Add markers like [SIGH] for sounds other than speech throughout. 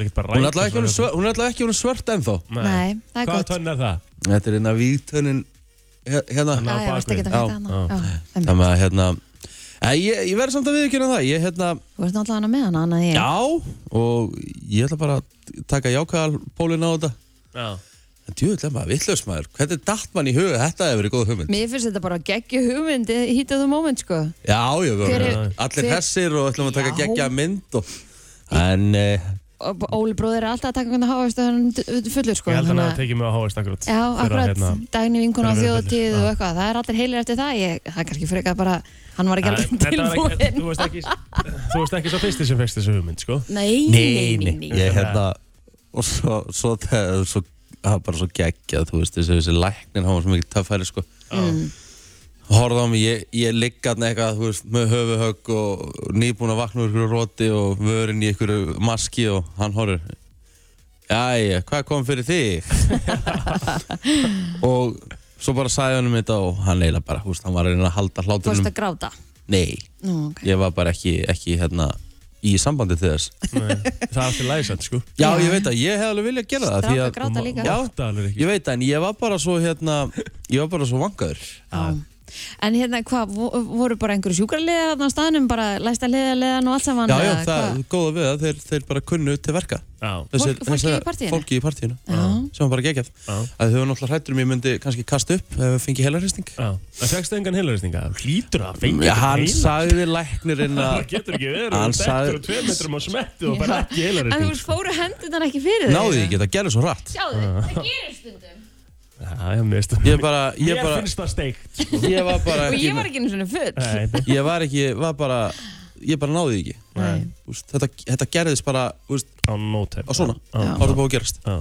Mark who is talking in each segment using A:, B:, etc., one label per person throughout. A: ekkert bara
B: Hún
A: rækja
B: er alltaf ekki
A: svona.
B: orðin svört- hún er alltaf ekki hún svört ennþá
A: Nei,
C: Nei, það er
A: Hvaða
C: gott.
A: tönn er það?
B: Þetta er hérna vígtönnin he- hérna
A: Þannig
C: Já,
A: á
C: já, varst
A: bakvið.
C: ekki að
B: Já,
C: hætta hana.
A: já.
C: Já, einmitt.
B: Þannig að hérna en Ég, ég verð samt að viðkjöna það Ég hérna,
C: Þú ert náttúrulega hana með hana, annað ég.
B: já Og ég ætla bara að taka jákaðalpólinn á þetta
A: Já.
B: En djúðlega maður, vittlaus maður Hvernig datt mann í huga þetta hefur verið góð hugmynd?
C: Mér finnst þetta bara geggju hugmynd, eh, hýtaðu moment, sko.
B: Já, já, við
C: Hver er-
B: vorum allir
C: hver-
B: þessir og ætlum að taka
C: Já.
B: geggja mynd og... En eh,
C: Og Óli bróðir er alltaf að taka hvernig hávægstu hann fullur, sko.
A: Ég held að hann
C: þannig
A: hafi tekið mig á hávægst akkurat
C: Já,
A: þegar,
C: akkurat,
A: hérna,
C: dagni vinkun á
A: þegar við erum
C: þjóðatíð
A: fullir,
C: og
A: já.
C: eitthvað, það er allir heilir eftir það, ég, það er kannski frekar bara, hann var ekki
A: Nei,
C: alveg
A: þetta var ekki-
C: tilbúinn.
A: Þú veist ekki Þú veist ekki svo fyrsti sem fyrsti þessu hugmynd sko
C: Nei, nei, nei, nei.
B: Ég hérna Og svo, svo, það- svo það var bara svo geggjað, þú veist, þessi, þessi læknin hann var svo mikið töffæri, sko Horða á mig, ég, ég ligg hann eitthvað, þú veist, með höfuhögg og nýbúin að vakna úr ykkur róti og vörin í ykkur maski og hann horfir Jæja, hvað kom fyrir þig? og svo bara sagði hann um þetta og hann eiginlega bara, þú veist, hann var að reyna að halda
A: Hérna-
C: Þú veist
B: hláturinn
C: að gráta.
B: Nei,
C: Nú, ok.
B: ég var bara ekki, ekki hérna, í sambandi til þess
A: Nei, Það er alltaf læsand sko
B: Já,
C: Já.
B: ég veit að ég hef alveg viljað gera það því
C: Stráka
B: að,
C: gráta líka.
B: Já.
A: Átta alveg ekki
B: Ég veit að, en ég var bara svo hérna Ég var bara svo vangaður
C: Já. En hérna, hvað, vo- voru bara einhverju sjúkraliða þarna á staðnum, bara læsta liða liðan og allt saman?
B: Já, já,
C: eða
B: það
C: hvað?
B: er góða við að þeir, þeir bara kunnu til verka
A: Já,
C: Fólk- fólki í partíinu?
B: Fólki í partíinu
C: Já.
B: Sem var bara geggjað
A: Já.
B: að Þau var náttúrulega hrættur um ég myndi kannski kasta upp Ef við fengi heilarhristing
A: já Það fegstu engan heilaristninga Hlýtur að fengi
B: Já, hann sagði
A: [LAUGHS]
B: læknirinn
A: Það
B: að
A: getur ekki verið
B: Hann
A: Hann sagði
B: sagði-
A: Þú tveir metrum á smettu og bara
C: Já.
A: ekki
C: En þú
A: heilaristning
C: fóru hendunar ekki fyrir þig? Ah.
B: Náði ekki, það gerði svo rætt
C: Sjáðu, það gerir stundum.
A: Já, ég veist
B: Ég bara, ég
A: Mér
B: bara,
A: finnst það steikt sko.
B: ég var bara
C: Og
B: ekki,
C: ég var ekki einu svona full.
A: Nei, þetta-
B: [LAUGHS] Ég var ekki, var bara Ég bara náði því ekki
C: Nei.
B: Úst, þetta, þetta gerðist bara, úst,
A: Á nótæm
B: á svona
A: Já.
B: Það var búið að gerast
A: Já.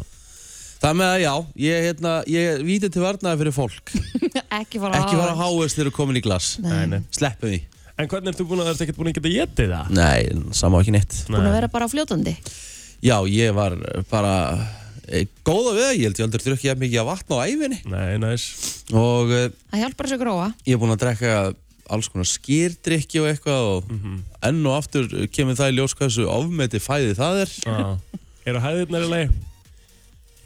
B: Það með að já, ég, hérna, ég víti til varnaði fyrir fólk
C: Ekki fara á
B: Ekki fara að háast þegar þú komin í glas
A: Nei, nei.
B: Sleppum því
A: En hvernig ert þú búin að það ert ekkert búin að geta getið það?
B: Nei, sama á ekki neitt
C: Búin að vera bara á fljótandi.
B: Já, ég var eh, bara eh, góð á við, ég held ég aldrei drukkið jafn mikið að vatna á æfinni
A: Nei, næs
B: Og eh,
C: Það hjálpar þessu gróa.
B: ég er búinn að drekka alls konar skýrdrykki og eitthvað Og
A: Mhm.
B: enn og aftur kemur það í ljós hversu ofmeti fæði það er
A: Já. Eru hæðirnar í lagi?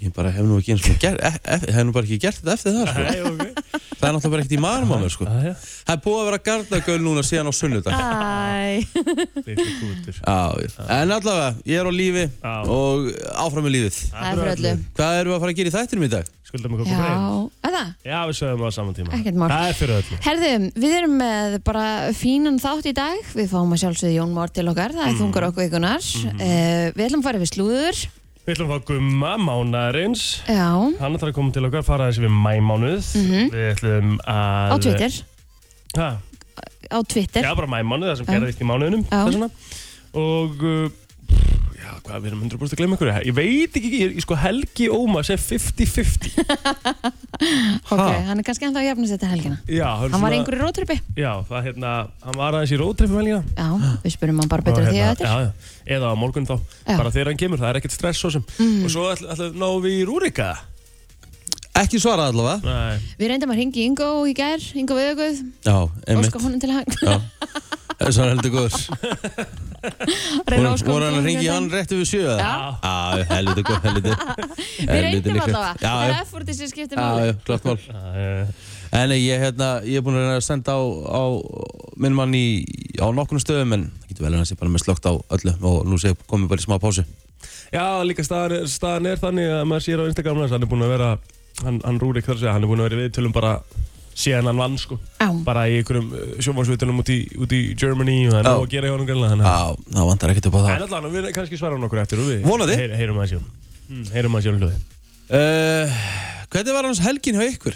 B: Ég bara hef nú ekki eins og ger, e, e, hef nú bara ekki gert þetta eftir það sko.
A: Nei, ok Ah,
B: Það er náttúrulega bara ekkert í marum á mér sko.
A: Já, já
B: Það er búið að vera gardagöl núna síðan á sunnudag
C: Ah. Æ.
B: [LAUGHS]
A: Lítið kútur Ah.
B: Já, en allavega, ég er á lífi
A: Já.
B: og áfram með lífið.
C: Það er fyrir öllu.
B: Hvað erum við að fara að gera í þættinum í dag?
A: Skuldum við
C: Já,
A: kokkur breyð?
C: að það.
A: Já, við sögum það á saman tíma.
C: Ekkert mál.
A: Það er fyrir öllu.
C: Herðu, við erum með bara fínan þátt í dag. Við fáum að sjálfsögðu Jón Már til okkar. Það er þungar okkur vikunar. Uh, við ætlum að fara við slúður.
A: Við ætlum að fá gumma mánarins.
C: Já,
A: Hann þarf að koma til okkar, fara þessi við mæmánuð. Við ætlum að...
C: Mhm. á Twitter.
A: Ha,
C: Á Twitter.
A: já, bara mæmánuð, það sem
C: Já.
A: gerðist í mánuðinum.
C: Já.
A: það er svona. Og, uh, já, hvað, við erum 100% að glemma ykkur. Ég veit ekki, ég, ég sko Helgi Óma segir 50-50.
C: [LAUGHS] Ok, hann er kannski ennþá að jafna sér til helgina.
A: Já,
C: Hann var einhverju rótrippi.
A: Já, það hérna, hann var aðeins í rótrippum helgina.
C: Já, við spurum hann bara betur
A: Og
C: því að
A: hérna,
C: þetta er.
A: já, já. eða á morgun þá,
C: Já. Mm.
A: bara þegar hann kemur, það er ekkert stress svo sem og svo ætlum ætl, náum við í Rúrika
B: Ekki svarað allavega.
A: Nei.
C: Við reyndum að ringi Ingo í gær, Ingo Viðugöð,
B: Já, einmitt.
C: óska honum til hang.
B: Já. Það Eh, er svona heldur góður.
C: Reyna [LAUGHS] að
B: Voru
C: óska
B: voru hann
C: til
B: að ringi
C: hamingju
B: hann rétt yfir sjöða?
C: Já.
B: Já, heldur góð, heldur.
C: Við reyndum allavega.
B: Já,
C: Það er
B: já.
C: F-fórtið sem [LAUGHS] skiptir
B: Já,
C: máli.
B: já, klart mál.
A: Já,
B: En ég, hérna, ég er búinn að reyna að senda á, á minn mann í, á nokkurnum stöðum en það getur vel að hann sé bara með slögt á öllu og nú sé komið bara í smá pásu.
A: Já, líka staðan er, staðan er þannig að maður sér á Instagram hans, hann er búin að vera hann, hann Rúrik þar að segja, hann er búin að vera við tölum bara síðan hann vann sko
C: Já.
A: bara í einhverjum sjófansvitunum út, í- út í Germany og það er
B: Já.
A: nóg að gera hjá honum greinlega þannig að-
B: Já, það vantar ekkert upp á það.
A: En allan, við kannski svara hann okkur eftir og við
B: Vonandi.
A: Heyr, Heyrum að sjón Mm, Heyrum að sjón hljóði
B: Uh, hvernig var hans helgin hjá ykkur?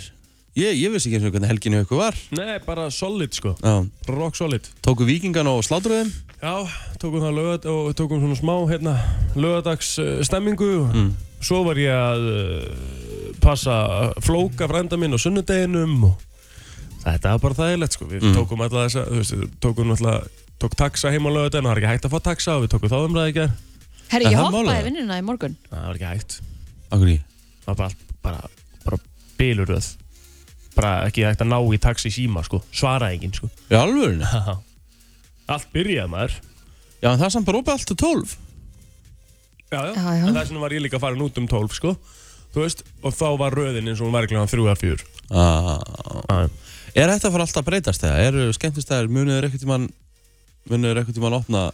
B: Ég, ég vissi ekki eins og hvernig helgin hjá ykkur var.
A: Nei, bara solid sko
B: Já,
A: Rock solid
B: tóku vikingan og slátruðum.
A: Já, tókum það lögat og tókum svona smá hérna, lögadags uh, stemmingu Svo var ég að uh, passa flóka frænda minn á sunnudeginum og þetta var bara þægilegt sko Við tókum alltaf þessa, þú veist, við tókum alltaf tók taxa heim á lögadaginn og það var ekki hægt að fá taxa og við tókum þá umræði ekki
C: Herri,
B: Er
C: ég
B: það málið?
C: hoppaði vinnuna í morgun.
A: Það var ekki hægt,
B: Akkur í?
A: það var bara, allt- bara, bara biluröð bara ekki hægt að ná í taxa í síma sko, svaraði enginn sko
B: Í
A: [LAUGHS]
B: alvörinu?
A: Allt byrjaði maður
B: Já, en það er samt bara opið allt til 12.
A: já, já.
C: Já, já.
A: En þess vegna var ég líka farin út um 12 sko Þú veist, og þá var röðin eins og hún var ekki hann 3-4
B: Ah. Er þetta fyrir alltaf að breytast þegar? Eru skemmtistæðir, munir ekkert í mann munir ekkert í mann opna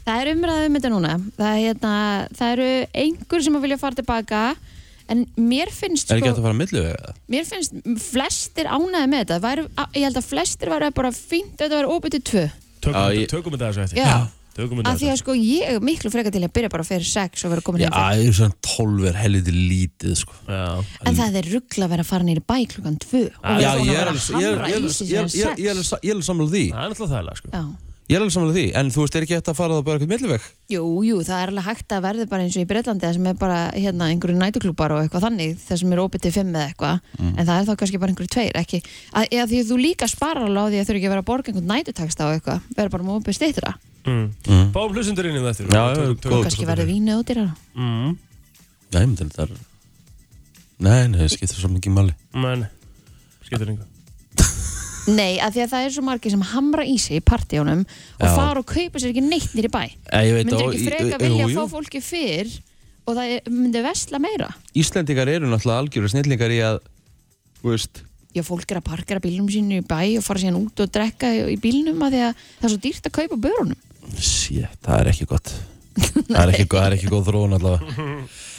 C: Það er umræðum þetta núna. Það, er hérna, það eru einhver sem að vilja fara tilbaka en mér finnst sko-
B: er ekki hægt að fara að millu eða?
C: mér finnst flestir ánæði með þetta. Væru, á- ég held að flestir væru bara fínt að þetta væri opið til tvö.
A: Tökum,
B: Já,
A: þetta-
B: ég-
A: tökum þetta þessu eftir
C: Já.
A: Tökum þetta
C: Af því
A: þessu
C: að sko ég er miklu frekar til að byrja bara fyrir sex og vera komin
B: Já,
C: heim fyrir.
B: það er svona 12 er helviti lítið sko.
A: eftir
C: En það er ruggla að vera farin nýri bæ klukkan tvö. og
B: Já,
C: vera
B: ég
C: búin að
B: er alveg
C: vera að
B: ég er-
C: hamra
B: ég
C: í
B: er-
C: sig
B: ég er-
C: síðan
B: ég er- ég er
C: sex.
B: ég er alveg sammála því
A: Það er náttúrulega þægilega sko
C: Já.
B: Ég er alveg sammála því, en þú veist, er ekki hægt að fara það bara eitthvað milliveg?
C: Jú, jú, það er alveg hægt að verði bara eins og í Breitlandi sem er bara hérna einhverju nætuklúpar og eitthvað þannig þar sem er opið til fimm eða eitthvað
B: Mm.
C: en það er þá kannski bara einhverju tveir ekki, að, eða því að þú líka sparar alveg á því að þurfi ekki að vera að borga einhvern nætutaksta og eitthvað vera bara með opið stýttra
A: mm. Báum hlustundur inn í þetta eftir
B: Já, já,
A: Tökum- tökum
B: góð.
A: þetta
C: kannski
A: svolítið.
C: verði vínið út í það
A: mm.
B: Nei, myndi þetta er... Nei, nei, það skiptir svo mikið máli.
A: Men, skiptir yngur
C: Nei, að því að það er svo margir sem hamra í sig í partíunum og
B: Já.
C: fara og kaupa sér ekki neitt nýri bæ
B: Ég, ég veit,
C: myndir
B: og-
C: ekki
B: í-
C: freka
B: jú,
C: vilja
B: jú.
C: að fá fólki fyrr og það er- myndi vesla meira
B: Íslendingar eru náttúrulega algjöru snillingar í að, þú veist,
C: já, fólk er að parkera bílnum sínu í bæ og fara síðan út og drekka í, í bílnum að því að það er svo dýrt að kaupa börunum
B: Shit, það er ekki gott Það
C: [LAUGHS]
B: er ekki, það er ekki góð þróun allavega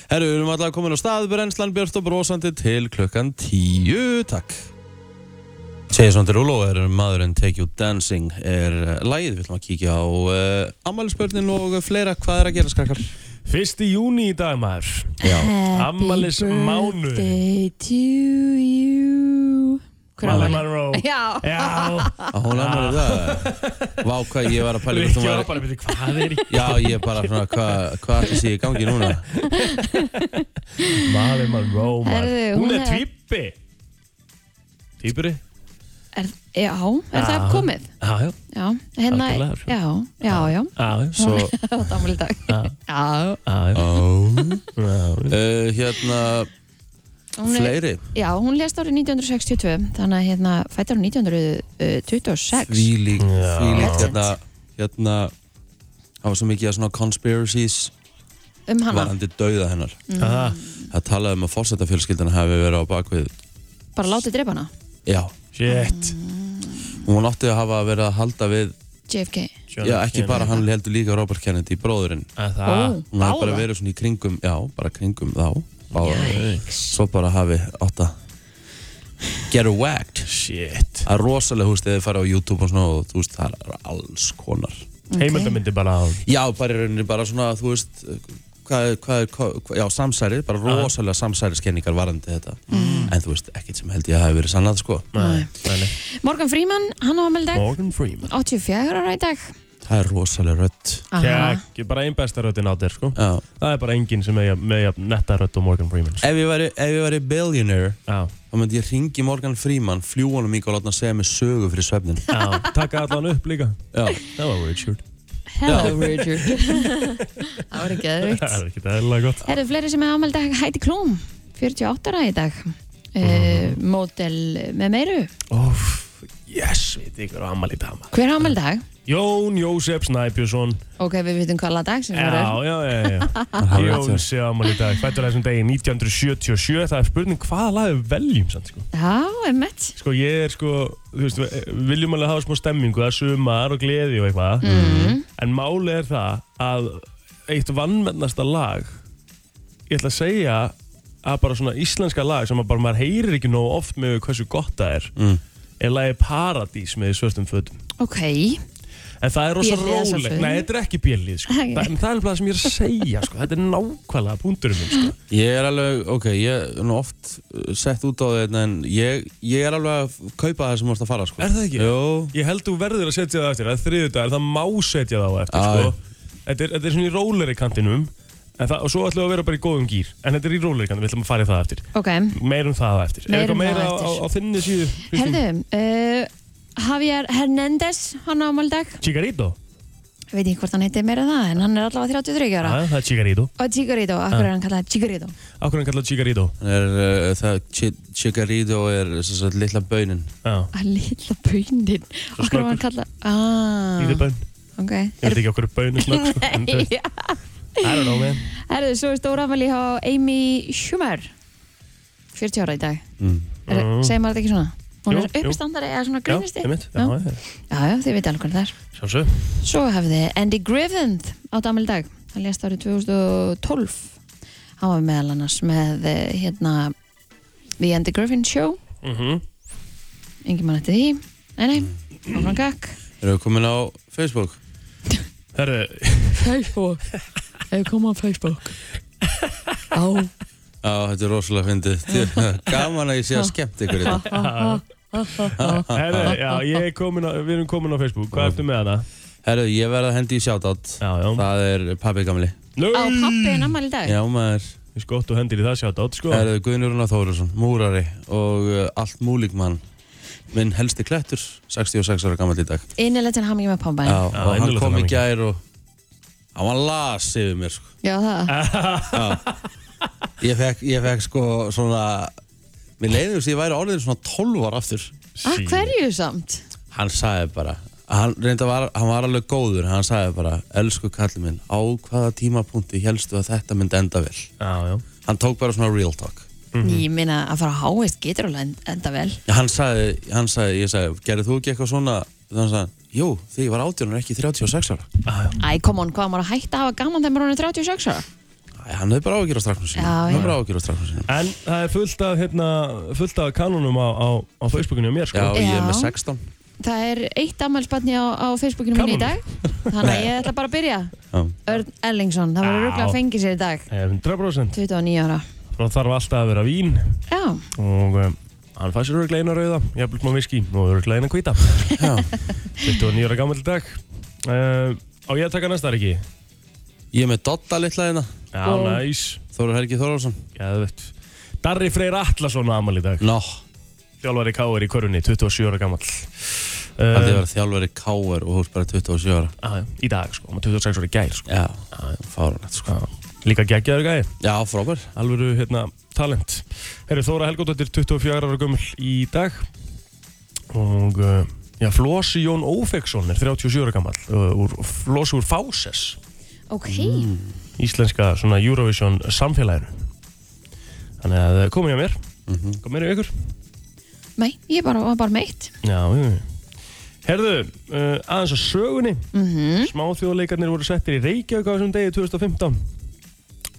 B: Herru, við erum allavega komin á stað Brennslan Björst og brosandi til klukkan 10 Takk Jason Derulo er maðurinn Take You Dancing er uh, lagið við ætlum að kíkja á uh, ammælisbörnin og fleira hvað er að gera skrakkar
A: Fyrsti júni í dag maður
B: Já,
A: Afmælismánuður.
C: birthday to you Hver
A: Marilyn
C: afmæli?
A: Monroe
C: [LAUGHS] Já,
A: Já,
B: að hún ammæli það Vá, hvað ég var að pæla í hvort
A: Rikki
B: hún
A: var
B: væri-
A: bara að byrja hvað er í
B: Já, ég bara svona, hvað hva ætti sé í gangi núna?
A: Marilyn Monroe maður
C: Herðu,
A: Hún
C: hún
A: er
C: er-
A: tvípi Tvípuri
C: er, já, er það
A: Já.
C: komið?
A: Já, já,
C: Já, hérna,
A: Algjörlega, sko.
C: já, já, já,
A: já, já,
C: [LAUGHS]
B: Svo,
C: þetta ámæli dag
A: Já.
C: Já,
A: já, já.
B: oh.
A: já.
B: uh, hérna,
C: hún er-
B: fleiri
C: Já, hún lést árið 1962 þannig að hérna fættar hún 1926
B: því líkt
A: Já.
B: því líkt
C: Legend.
B: hérna hérna það var svo mikið af svona conspiracies
C: um hana, Mm.
B: varandi dauða hennar
A: Ah,
B: það talaði um að fórsetafjölskyldan hafi verið á bakvið
C: bara látið drepa hana
B: já,
A: Shit
C: Mm.
B: hún átti að hafa verið að halda við
C: JFK
A: John
B: já, ekki
A: Kennedy.
B: bara hann heldur líka Robert Kennedy bróðurinn,
A: Að
C: Ó,
A: Það
B: hún hafi bara verið svona í kringum já, bara kringum þá báða.
A: Jæks
B: svo bara hafi átt að get her whacked
A: Shit
B: það er rosalega, þú veist, þegar þið farið á YouTube og svona og þú veist, það er alls konar
A: Heimildamindi bara á
B: Já, bara í rauninni bara svona, þú veist hvað, hvað, hvað, hvað, já, samsæri bara rosalega samsæriskenningar varandi þetta en þú veist, ekkert sem held ég að hafi verið sannað sko.
A: Nei, nei, nei.
C: Morgan Freeman, hann á ammæli dag
A: Morgan Freeman
C: 84 ára í dag
B: það er rosalega rödd
A: Já, ekki bara ein besta röddin á þér sko
B: já.
A: Það er bara enginn sem er jafn- með jafn netta rödd og Morgan Freeman sko.
B: ef ég væri, ef ég væri billionaire
A: Já,
B: þá myndi ég ringi Morgan Freeman fljúanum í og láta hann segja mig sögu fyrir svefnin
A: já, taka allan upp líka
B: já,
A: Það var Richard
C: Hello
A: [LAUGHS]
C: Richard [LAUGHS] Það var ekki aðeitt
A: Það er ekki eðlilega gott
C: Herðu fleiri sem er ammæli dag Heidi Klum 48 ára í dag e,
A: Mhm.
C: Model með meiru
A: Óf, yes, við ykkur á ammali dama
C: Hver er ammæli dag?
A: Jón Jósef Snæbjörnsson
C: Ok, við vitum hvaða dag sem það er
A: Já, já, já, já Jón sé ammali dag Fættur þessum degi 1977 Það er spurning hvaða lag við veljum sann, sko.
C: Já, emmett
A: sko, ég er sko Þú veist, við viljum alveg hafa smá stemmingu Það er sumar og gleði og eitthvað En málið er það að Eitt vannmennasta lag Ég ætla að segja að bara svona íslenska lag sem að bara maður heyrir ekki nóg oft með hversu gott það er
B: Mm.
A: er lagið Paradís með svörstum fötum
C: Ok,
A: En það er rosa
C: Bjellið að
A: rólegt.
C: sjálfsögðu.
A: Nei, þetta er ekki bjellið, sko.
C: Ekki.
A: Það, en það er alveg það sem ég er að segja, sko. Þetta er nákvæmlega punkturinn minn, sko.
B: ég er alveg, ok, ég er nú oft uh, sett út á þetta en ég, ég er alveg að f- kaupa það sem vorst að fara sko.
A: Er það ekki?
B: Jó,
A: Ég held þú verður að setja það á eftir. Það er þriðudagur, það má setja það á eftir,
B: Já,
A: sko. Þetta er, þetta er svona í róleri kantinum. en Það, og svo ætlum við að vera bara í góðum gýr. En þetta er í róleri kantinum, við ætlum að fara í það á eftir.
C: ok
A: Meirum það á eftir. er eitthvað
C: Meira um það
A: meira
C: á
A: á, á,
C: eftir.
A: á þinni síðu? Kristín?
C: Herðu, uh, Javier Hernández, hann á ámaldag.
A: Chigarito?
C: Ég veit ekki hvort hann heiti meira en það, en hann er allavega 33 ára.
A: Já, það er Chigarito.
C: Og Chigarito, af hverju er hann kallað Chigarito?
A: Akkur hann kallað Chigarito?
B: hann er, uh, það, Chi- Chicarido er sem sagt, litla baunin
A: Já,
C: Að litla baunin. Af hverju er hann kallað... Ah,
A: lítið bönn.
C: ok.
A: Ég
C: Er,
A: veit ekki okkur bönn er snögg, sko. en
C: nei,
A: þau-
C: já.
A: I don't know man
C: Herðu, svo er stóra afmæli hjá Amy Schumer 40 ára í dag er,
A: Mm.
C: Segir maður þetta ekki svona? Hún
A: Jú,
C: er
A: jú.
C: uppstandari eða svona
A: Já,
C: grunnisti
A: einmitt Já,
C: Já,
A: já,
C: já, já þið veit alveg hvernig það er
A: sjálfsög
C: Svo hefði Andy Griffith átt afmæli í dag Hann lést árið 2012 Hann var meðal annars með eh, hérna The Andy Griffith Show
A: Mhm.
C: Engi mann eftir því Nei, nei, áfram gakk
B: Erum við komin á
A: [LAUGHS]
B: Facebook?
A: Herðu,
C: Facebook Hefur komað á Facebook Á
B: Já, þetta er rosalega fyndið. [LAUGHS] Djú- Gaman að ég sé að skemmt ykkur í þetta.
A: [LAUGHS] herðu, já, ég er komin á, við erum komin á Facebook Hvað ertu með hana?
B: Herru, ég verð að hendi í shoutout.
A: Já, já
B: Það er pabbi gamli.
A: Nú,
C: Á pappiðin afmæli í dag
B: Já, maður.
A: ég skott og hendir í það sjátt átt, sko
B: Herru, Guðnuruna Þórusson, múrari og uh, allt múlíkmann. Minn helsti klettur, 66 ára gammal í dag.
C: Innilegt til hamingi með pambæn
B: Já, og hann
A: innilega
B: kom í
A: til
B: gær og hann var las yfir mér sko.
C: Já, það
B: ég, fekk, ég fekk sko svona mér leiðum sem ég væri orðin svona 12 ára aftur
C: Að hverju samt?
B: hann sagði bara hann, reyndar var, hann var alveg góður hann sagði bara, elsku kallið minn á hvaða tímapunkti helstu að þetta myndi enda vel
A: Já, já
B: hann tók bara svona real talk
A: Mhm.
C: Ég meina að fara á háist getur alveg en- enda vel
B: Já, hann sagði, hann sagði, ég sagði, gerði þú ekki eitthvað svona þannig að hann sagði, jú, því ég var 18 en ekki 36 ára
C: Æ, kom on, hvað maður að hætta að hafa gaman þegar maður er orðinn 36 ára?
B: Æ, hann hefði bara ágjur á strafnum sinni
C: Já,
B: hann hefði
C: já.
B: bara ágjur á strafnum sinni
A: En það er fullt af, hérna, fullt af kanunum á, á, á Facebookinu og mér, sko
B: já, ég er
C: Já.
B: með 16
C: Það er eitt afmælsbarni á, á Facebookinu mínu í
A: Gaman.
C: dag Þannig að ég ætla bara að byrja
B: já.
C: Örn Ellingsson, það var
A: Já.
C: röglega að fengi sér í dag
A: Eh, 100%
C: 29 ára
A: þá þarf alltaf að vera vín
C: Já,
A: og um, hann fær sér örglega eina rauða jafnvel smá viski og örglega eina hvíta 29 ára gammal dag uh, á ég að taka næsta er ekki
B: ég er með Dodda litla hérna
A: já,
C: Ó.
A: næs,
B: Þóru Helgi Þórarsson
A: geðvett Darri Freyr Atlason á amal í dag
B: Nó,
A: þjálfari K.R. í körunni, 27 ára gammal
B: hann þið
A: uh,
B: var þjálfari K.R. og hús bara 27 ára
A: á, í dag sko, hann var 26 ára í gær sko.
B: Já, fárunett sko
A: Já, líka geggjaður gæði
B: Já, frábær
A: alvöru hérna, talent Herri Þóra Helgóttir, 24 ára gömul í dag og uh, já, Flósi Jón Ófeksson er 37 ára gammal uh, úr, Flósi úr Fáses
C: ok
A: íslenska svona Eurovision samfélaginu þannig að eh, komið hjá mér
B: Mhm.
A: kom mér í ykkur
C: Nei, ég bara, var bara meitt
A: já, já, já. herðu, uh, aðeins að sögunni
C: mm
A: smáþjóðleikarnir voru settir í Reykjavík á þessum degi 2015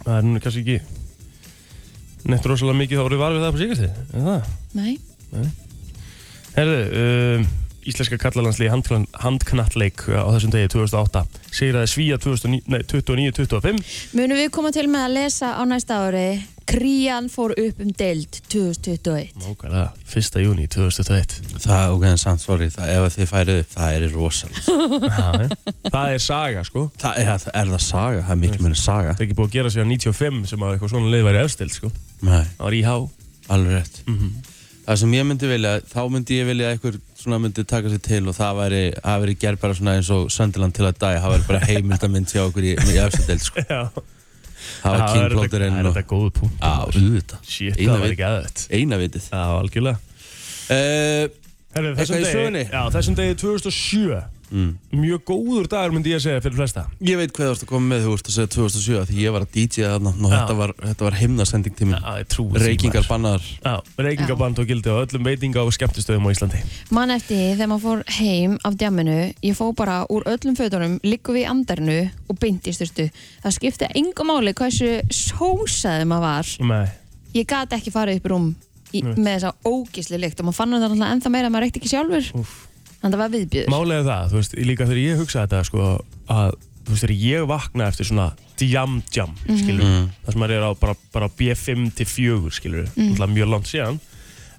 A: það er nú kannski ekki neitt rosalega mikið þá voru við varfið það på síkastíð en það
C: Nei,
A: Herðu, um, Íslenska kallalandsli handknattleik á þessum degi 2008 sigraði Svíja 29-25
C: munum við koma til með að lesa á næsta ári Krían fór upp um deild 2021
A: Mákala, 1. júni 2021
B: Það, ok, en samt, sorry, það, ef að þið færið upp, það er rosalega
A: [LAUGHS] Já, Það er saga sko
B: Það er, það er það saga, það er miklu minni saga
A: Það er ekki búið að gera sér 95 sem að eitthvað svona leið væri efstild sko
B: Nei,
A: Það var Mhm. íhá
B: alveg rétt Það sem ég myndi vilja, þá myndi ég vilja að einhver svona myndi taka sér til og það væri, það væri gerð bara svona eins og Söndiland til að dæja, það væri bara heimildamind hjá okkur í, í efstendelt, sko
A: Já,
B: Það var
A: er þetta- það
B: kingblóturinn
A: er
B: og,
A: þetta góð punkt
B: á, auðvitað
A: Shit,
B: Eina
A: það var
B: vit-
A: ekki aðeitt
B: Eina vitið
A: Já, algjörlega
B: uh,
A: Herðu,
B: Eitthvað
A: þessum
B: í sögunni?
A: degi, já, þessum degi 2007 Mjög góður dagur myndi ég að segja fyrir flesta
B: Ég veit hvað þú ert að koma með, þú ert að segja 2007 af Því ég var að DJ þarna og
A: Já.
B: þetta var, þetta var himnasendingtími
A: Já, ég trúi því,
B: Reykingar
A: maður.
B: bannaðar
A: Já, reykingabann tók gildi á öllum veitinga og skemmtistöðum á Íslandi
C: Man eftir því, þegar maður fór heim af djamminu, ég fó bara úr öllum fötunum, liggum við í andarnu og beint í styrtu. Það skipti engu máli hversu sósaði maður var.
A: Nei
C: Ég gat ekki farið upp í rúm í,
A: Nei.
C: með þessa ógisli lykt og maður fann það alltaf ennþá meira að maður reykti ekki sjálfur.
A: Úff.
C: Þannig að það var viðbjöður.
A: Málega það, þú veist, líka þegar ég hugsaði þetta sko, að þú veist, þegar ég vakna eftir svona djam djam,
C: Mhm.
A: skilur mm það sem maður er á bara, bara B5 til 4 skilur,
C: Mhm.
A: mm mjög langt síðan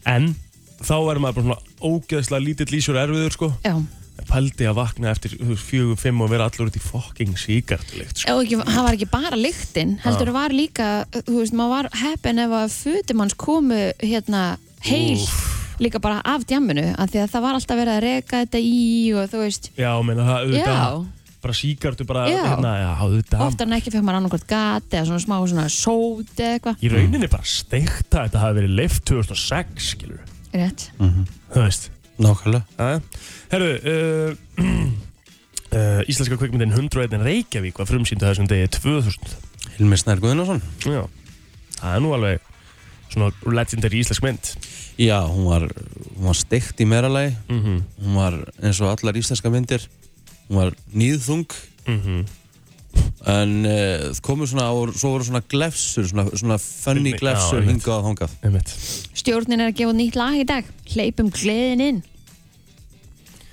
A: en þá er maður bara svona ógeðslega lítill lýsur erfiður sko
C: Já,
A: En pældi að vakna eftir þú veist, 4-5 og vera allur út í fucking síkartulikt sko.
C: og ekki, það var ekki bara lyktin, heldur það var líka, þú veist, maður var heppin ef að fötum hans komu hérna heil líka bara af djamminu, af því að það var alltaf verið að reyka þetta í og þú veist,
A: Já, meina það, auðvitað
C: Já.
A: bara síkartu, bara,
C: Já.
A: hérna, já, auðvitað
C: oftar en ekki fekk maður annarkvæmt gat eða svona smá svona sót eða eitthvað
A: í rauninni bara steikta að þetta hafi verið lift 2006, skilur
C: rétt
A: þú veist
B: Nákvæmlega
A: Herru, uh, [CLEARS THROAT] uh, íslenska kvikmyndin 101 Reykjavík var frumsýnd á þessum degi 2000
B: Hilmi Snær Guðnason
A: Já, það er nú alveg svona legendary íslensk mynd
B: Já, hún var, hún var steikt í meralagi
A: Mhm.
B: Hún var eins og allar íslenska myndir Hún var nýðþung
A: Mhm.
B: En uh, komu svona, á, svo voru svona glefsur Svona, svona funny
A: Funny, já,
B: glefsur
A: einmitt.
B: hingað og þangað
A: Einmitt.
C: Stjórnin er að gefa út nýtt lag í dag Hleypum gleðin inn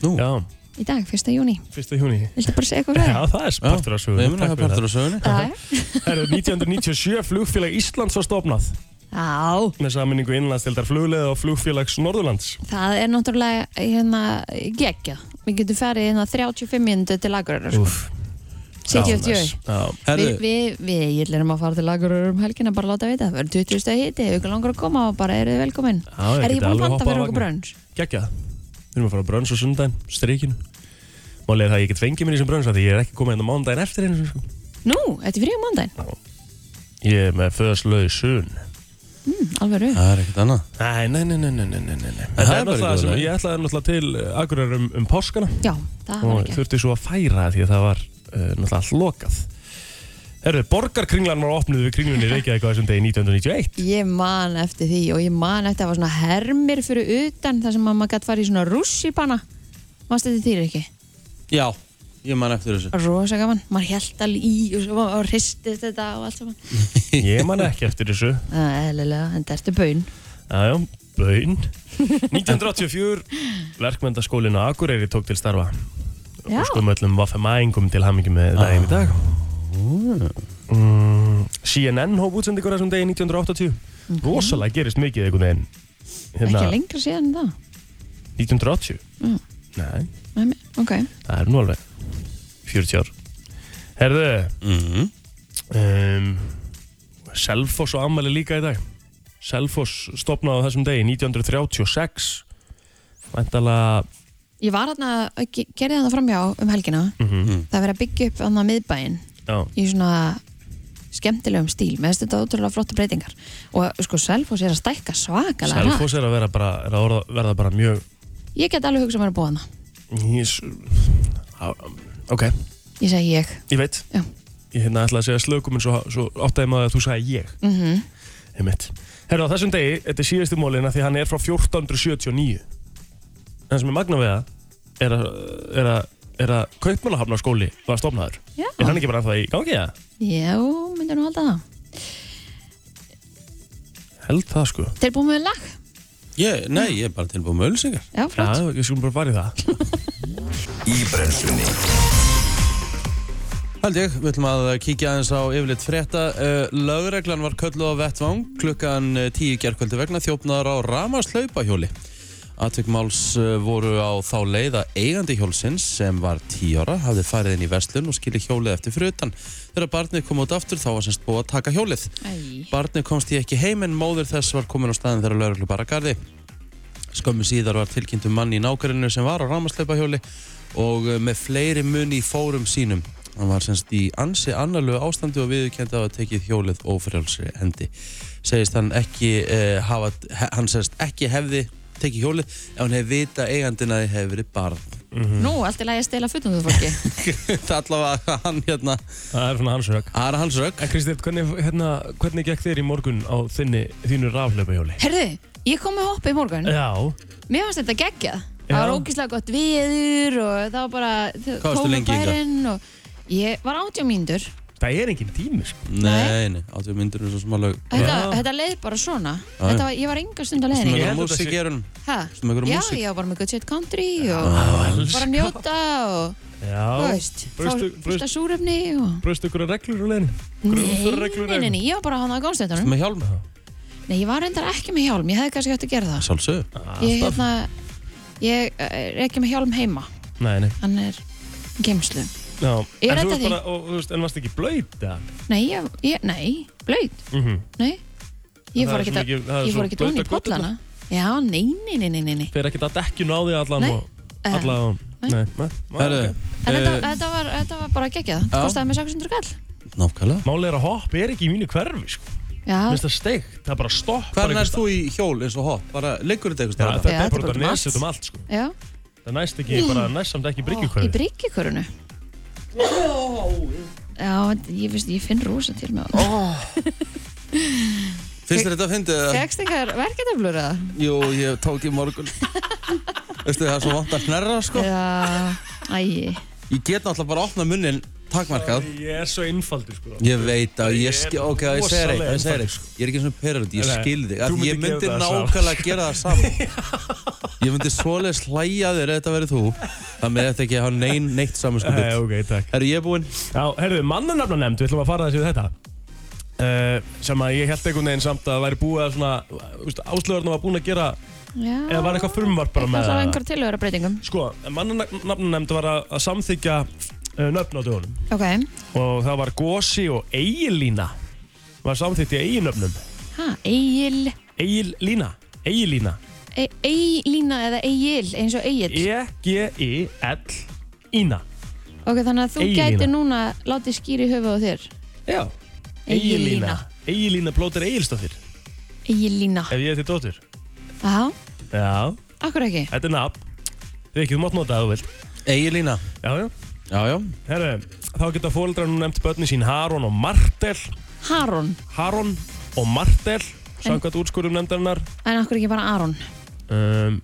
B: Nú, já,
A: Já,
C: Í dag, 1. júni
A: fyrsta júni
C: Viltu bara segja eitthvað frá
A: Já, það er partur af sögunni
B: ég meina það er partur af sögunni
C: það?
A: [LAUGHS] Herru, 1997 flugfélag Íslands var stofnað
C: Já,
A: með saminningu innlandstildar flugleða og flugfélags Norðurlands
C: það er náttúrulega hérna geggja Við getum farið hérna 35 minúti til sko. laguröður
A: Úf,
C: Sittu eftir jö
A: Já,
B: Herðu,
C: Við, við, við, ég erum að fara til laguröður um helgina bara láta vita, það verður 20 stað hiti ef ykkur langar að koma og bara eru þið velkomin
A: Já, ég
C: Er
A: geti
C: ég búin
A: alveg
C: að panta
A: hoppað á
C: fyrir
A: vagnin.
C: okkur brönns?
A: geggja Við erum að fara á brönns og sundaginn, strikinu Málið er það að ég get fengið mér í sem brönns af því ég er ekki komið hérna mándaginn eftir einu sko.
C: Nú, þetta er fyrir á mándaginn,
A: Ég er með föðaslöði sun
C: Mm, alveg rauð
B: það er ekkert annað
A: Nei, nei, nei, nei, nei, nei, nei, nei.
B: Það
A: Þetta er
B: er bara
A: náttúrulega
B: í
A: sem
B: góðu lagi.
A: ég ætlaði náttúrulega til Akureyrar um, um páskana
C: Já, það var
A: og
C: ekki
A: þurfti svo að færa því að það var uh, náttúrulega allt lokað Herru, borgarkringlan var opnuð við kringlunni í Reykjavík á þessum degi 1991
C: Ég man eftir því og ég man eftir að það var svona hermir fyrir utan þar sem að maður gætt farið í svona rússipanna Manst þetta þýr ekki?
B: Já, ég man eftir þessu
C: Rosa gaman, maður held alveg í og, svo, og hristist þetta og allt saman
A: Ég man ekki eftir þessu
C: Það er eðlilega, en þetta ertu baun
A: Jájá,
C: [LAUGHS]
A: bön 1984, verkmyndaskólinn á Akureyri tók til starfa
C: Já,
A: og skoðum Sko, öllum vaffemæðingum til hamingjum með
C: Ah.
A: daginn í dag mm, CNN hóf útsendingur á þessum degi 1980 Rosalega gerist mikið einhvern veginn Hérna,
C: ekki lengra síðan en það
A: 1980?
C: Mm.
A: Nei,
C: Nei, nei, Ok,
A: það er nú alveg 40 ár Herðu
B: Mhm.
A: um, Selfoss og ammæli líka í dag Selfoss stopnaði á þessum degi 1936 Væntalega
C: ég var hérna, ge- gerði hérna framhjá um helgina
A: Mhm.
C: Það er verið að byggja upp hérna miðbæinn
A: Já,
C: í svona skemmtilegum stíl, með þess þetta ótrúlega flotta breytingar og sko Selfoss er að stækka svakalega hratt.
A: Selfoss er að vera bara, er að orða, verða bara mjög
C: Ég get alveg hugsað mér að búa hana
A: Ís, á, Ok,
C: Ég segi ég
A: ég veit
C: Já.
A: Ég hérna ætlaði að segja slökum en svo, svo áttaði maður að þú sagði ég
C: mm
A: Einmitt. Herra, á þessum degi, þetta er síðasti mólina því hann er frá 1479. En það sem er magna við það er að, er að, er að kaupmannahafnarskóli var stofnaður.
C: Já,
A: Er hann ekki bara ennþá í gangi það?
C: já myndir nú halda það
A: Held það sko.
C: Þeir búið með
B: Mm.
C: lag?
B: Ég, nei, ég er bara tilbúið með ölsingar
C: Já,
A: Já,
C: flott
A: ég skulum bara fara í það.
D: Í brennslunni
B: Hald ég, við ætlum að kíkja aðeins á yfirleitt frétta. Uh, Lögreglan var kölluð á vettvang klukkan eh, 10 gerkvöldi vegna þjófnaðar á ramaslaupahjóli. Atvikmáls eh, voru á þá leið að eigandi hjólsins sem var 10 ára hafði farið inn í verslun og skilið hjólið eftir fyrir utan. Þegar barnið kom út aftur þá var semst búið að taka hjólið.
C: Æ,
B: Barnið komst í ekki heim en móður þess var komin á staðin þegar lögreglu bara gardi. Skömmu síðar var tilkynnt um mann í nákvæminu sem var á rámasleipahjóli og eh, með fleiri muni í fórum sínum. Hann var semst í ansi annarlegu ástandi og viðurkendi að hafa tekið hjólið ófrjálsri hendi. Segist hann ekki, eh, hafa, he- hann segist ekki hefði tekið hjólið ef hann hefði vita eigandina hefði verið barn.
A: Mhm.
C: Nú, allt er lagi að stela fullundu fólki
B: [LAUGHS] Það allavega hann hérna,
A: Það er svona hans rök.
B: aðra hans rök.
A: En Kristið, hvernig, hérna, hvernig gekk þér í morgun á þinni, þínu rafleipahjóli?
C: Herðu, ég kom með hoppa í morgun
A: Já.
C: Mér fannst þetta geggjað
A: Já.
C: Það var ógislega gott viður og það var bara
B: Hvað varstu lengi hingað?
C: bærin og Ég var átjá mínútur
A: Það er engin tími sko.
B: Nei, nei, áttu myndur eins og smá lög.
C: Þetta,
A: Já.
C: þetta leið bara svona þetta var, Ég var enga stund að
B: Svona
C: leiðinni
A: held að þetta
B: einhverja
A: sé-
B: músík er hún.
C: Ha?
B: Svona einhverja
C: Já,
B: músík.
C: ég var bara með good shit country og bara að njóta og þú
A: Já.
C: veist,
A: Braustu-
C: fá- fyrsta súrefni og
A: Bröstu ykkur að reglur úr leðinni?
C: Nei, nei, nei, nei, ég var bara hann á góðstættunum
B: með hjálm hérna?
C: Nei, ég var reyndar ekki með hjálm, ég hefði kannski hægt að gera það
B: Sjálfsög
A: Ah,
C: Ég, hérna, ég eh, er ekki með hjálm heima
A: Nei, nei.
C: Hann er í geimslu
A: Já.
C: Ég
A: En þú
C: redda
A: varst
C: því.
A: bara- og, þú veist, En varst ekki blöyt?
C: Nei, ég, ég nei, blöyt,
A: Mhm.
C: nei Ég
A: Það er svo
C: fór ekkert
A: mikið- það er
C: að- ég
A: svo
C: fór ekkert ofan í
A: blautar göturnar.
C: pollana Já, nei, nei, nei, nei, nei, nei.
A: fer ekkert að dekkjun á því allan
C: Nei.
A: og
C: Eh,
A: allan
C: nei.
A: nei, nei,
B: Herðu,
A: okay.
C: En þetta,
B: eh,
C: þetta, var, þetta var bara geggjað
B: Já.
C: Það kostaði mig 600 kall
B: Nákvæmlega
A: Málið er að hopp er ekki í mínu hverfi sko.
C: Já,
A: minnst það steikt, það er bara stopp
B: Hvernig erst þú í hjól eins og hopp? Bara liggur
A: Já,
B: þetta eitthvað
A: þetta
C: Já,
A: er
C: þetta
A: bara
C: er
A: út að
C: bara
A: nesut um allt sko.
C: já
A: Það næst ekki, bara næst samt ekki
C: Ó, Í
A: bryggjukverfi
C: bryggjukörunu Já, ég finnst, ég finn rosa til með oh.
B: Finnst þér þetta að fyndið eða?
C: Fegst eitthvað verkefnaflur eða?
B: Jú, ég tók í morgun Veistu það er svo vant að hnerra sko
C: Já, ægi
B: Ég get náttúrulega bara að opna munnin takmarkað
A: Ég er svo einfaldi sko
B: Ég veit að ég
A: Ég er
B: skil, ok,
A: rosalega
B: ég segir eitthvað, ég segir
A: einfaldur, sko.
B: eitthvað Ég er ekki svona perrönd, sko.
A: Nei,
B: ég
A: nei,
B: skil þig
A: þú
B: af því Ég
A: myndir
B: myndi
A: gera það sama,
B: nákvæmlega gera það saman [LAUGHS] Ég myndi svoleiðis hlæja þér ef þetta verið þú Þannig að þetta ekki að hafa nein
A: Nei,
B: neitt samanskupið
A: ok, takk
B: sko, Herru, ég er búinn
A: Já, herðu, mannanafna nefnd, við ætlum að fara þessi við þetta uh, sem að ég held einhvern veginn samt að væri búið að svona, úst, áslöðurna var búin að gera
C: Já
A: eða var eitthvað frumvarp bara með
C: Það var
A: það?
C: einhver tilhöra breytingum
A: Sko, mannanafna nefnd var að, að samþykja uh, nöfn á dögunum
C: Ok,
A: og það var Gosi og Egilína var samþykkt í eiginöfnum
C: ha, Egil
A: Egilína, Egilína
C: E- Eilína eða Egil, eins og Egil
A: E E-G-I-L-Ína
C: Ok, þannig að þú
A: Egilína.
C: gæti núna látið skýri höfuð á þér
A: Já Egilína Egilína plóter Egilstóttir
C: Egilína
A: ef ég er til dóttur
C: Já,
A: Já,
C: akkur ekki
A: þetta er nafn Við ekki, þú mátt nota það þú vilt
B: Egilína
A: Já, já
B: Já, já
A: Herru, þá geta fóreldrar nú nefnt börni sín Harón og Martel
C: Harón,
A: Harón og Martel samkvæmt úrskurum nefndarinnar
C: en akkur ekki bara Aron
A: um,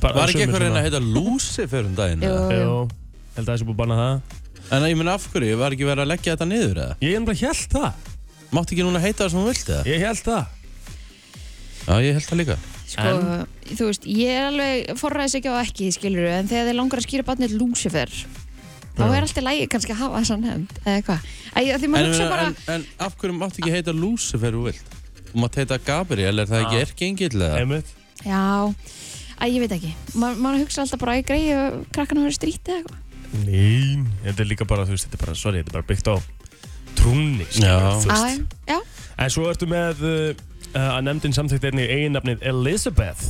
A: bara
B: Var
A: sumir
B: ekki eitthvað að
A: svona-
B: reyna að heita Lucifer um daginn? eða?
A: Jú, held að það sé búið að banna það
B: En ég meina af hverju, var ekki verið að leggja þetta niður eða?
A: Ég er bara held það
B: Mátti ekki núna heita það sem hún vildi eða?
A: Ég held það
B: Já, ég held það líka
C: Sko, þú veist, ég er alveg forræðis ekki á ekki, skilur en þegar þið langar að skýra barnið Lucifer þá er alltaf lægi kannski að hafa þessan hefnd eða hvað, Æ, af því maður
B: en,
C: hugsa bara
B: en, en af hverju mátti ekki heita Lucifer þú vilt? Þú mátt heita Gabriel, er það ekki erkeingilega?
A: Einmitt
C: já, að ég veit ekki Ma, maður hugsa alltaf bara að greið og krakkana verið strítið eða eitthvað
A: Nein, þetta er líka bara, þú veist, þetta er bara, sorry, þetta er bara byggt á trúnni skilurðu,
B: Já.
A: þú
C: Já,
A: veist.
C: já,
A: En svo ertu með uh, að nefndin samþýtt einnig eiginnafnið Elizabeth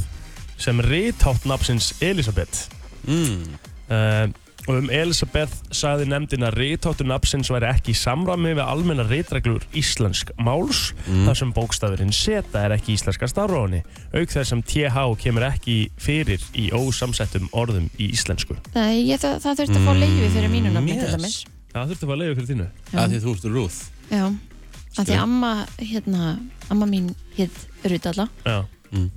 A: sem rítátt nafnsins Elizabeth
B: Mm.
A: uh, og um Elisabeth sagði nefndin að rítáttu nafnsins væri ekki í samræmi við almenna rítreglur íslensk máls
B: Mm.
A: þar sem bókstafurinn seta er ekki íslenska starróni auk þess sem TH kemur ekki fyrir í ósamsettum orðum í íslensku
C: það, ég, það, það þurfti að fá leiði fyrir mínu nafni til
B: yes.
C: dæmis
A: Það þurfti að fara að leiða fyrir þínu
B: Af því þú ert Ruth
C: já, að því amma hérna, amma mín hétt Rudalla
A: Já,
B: Mm.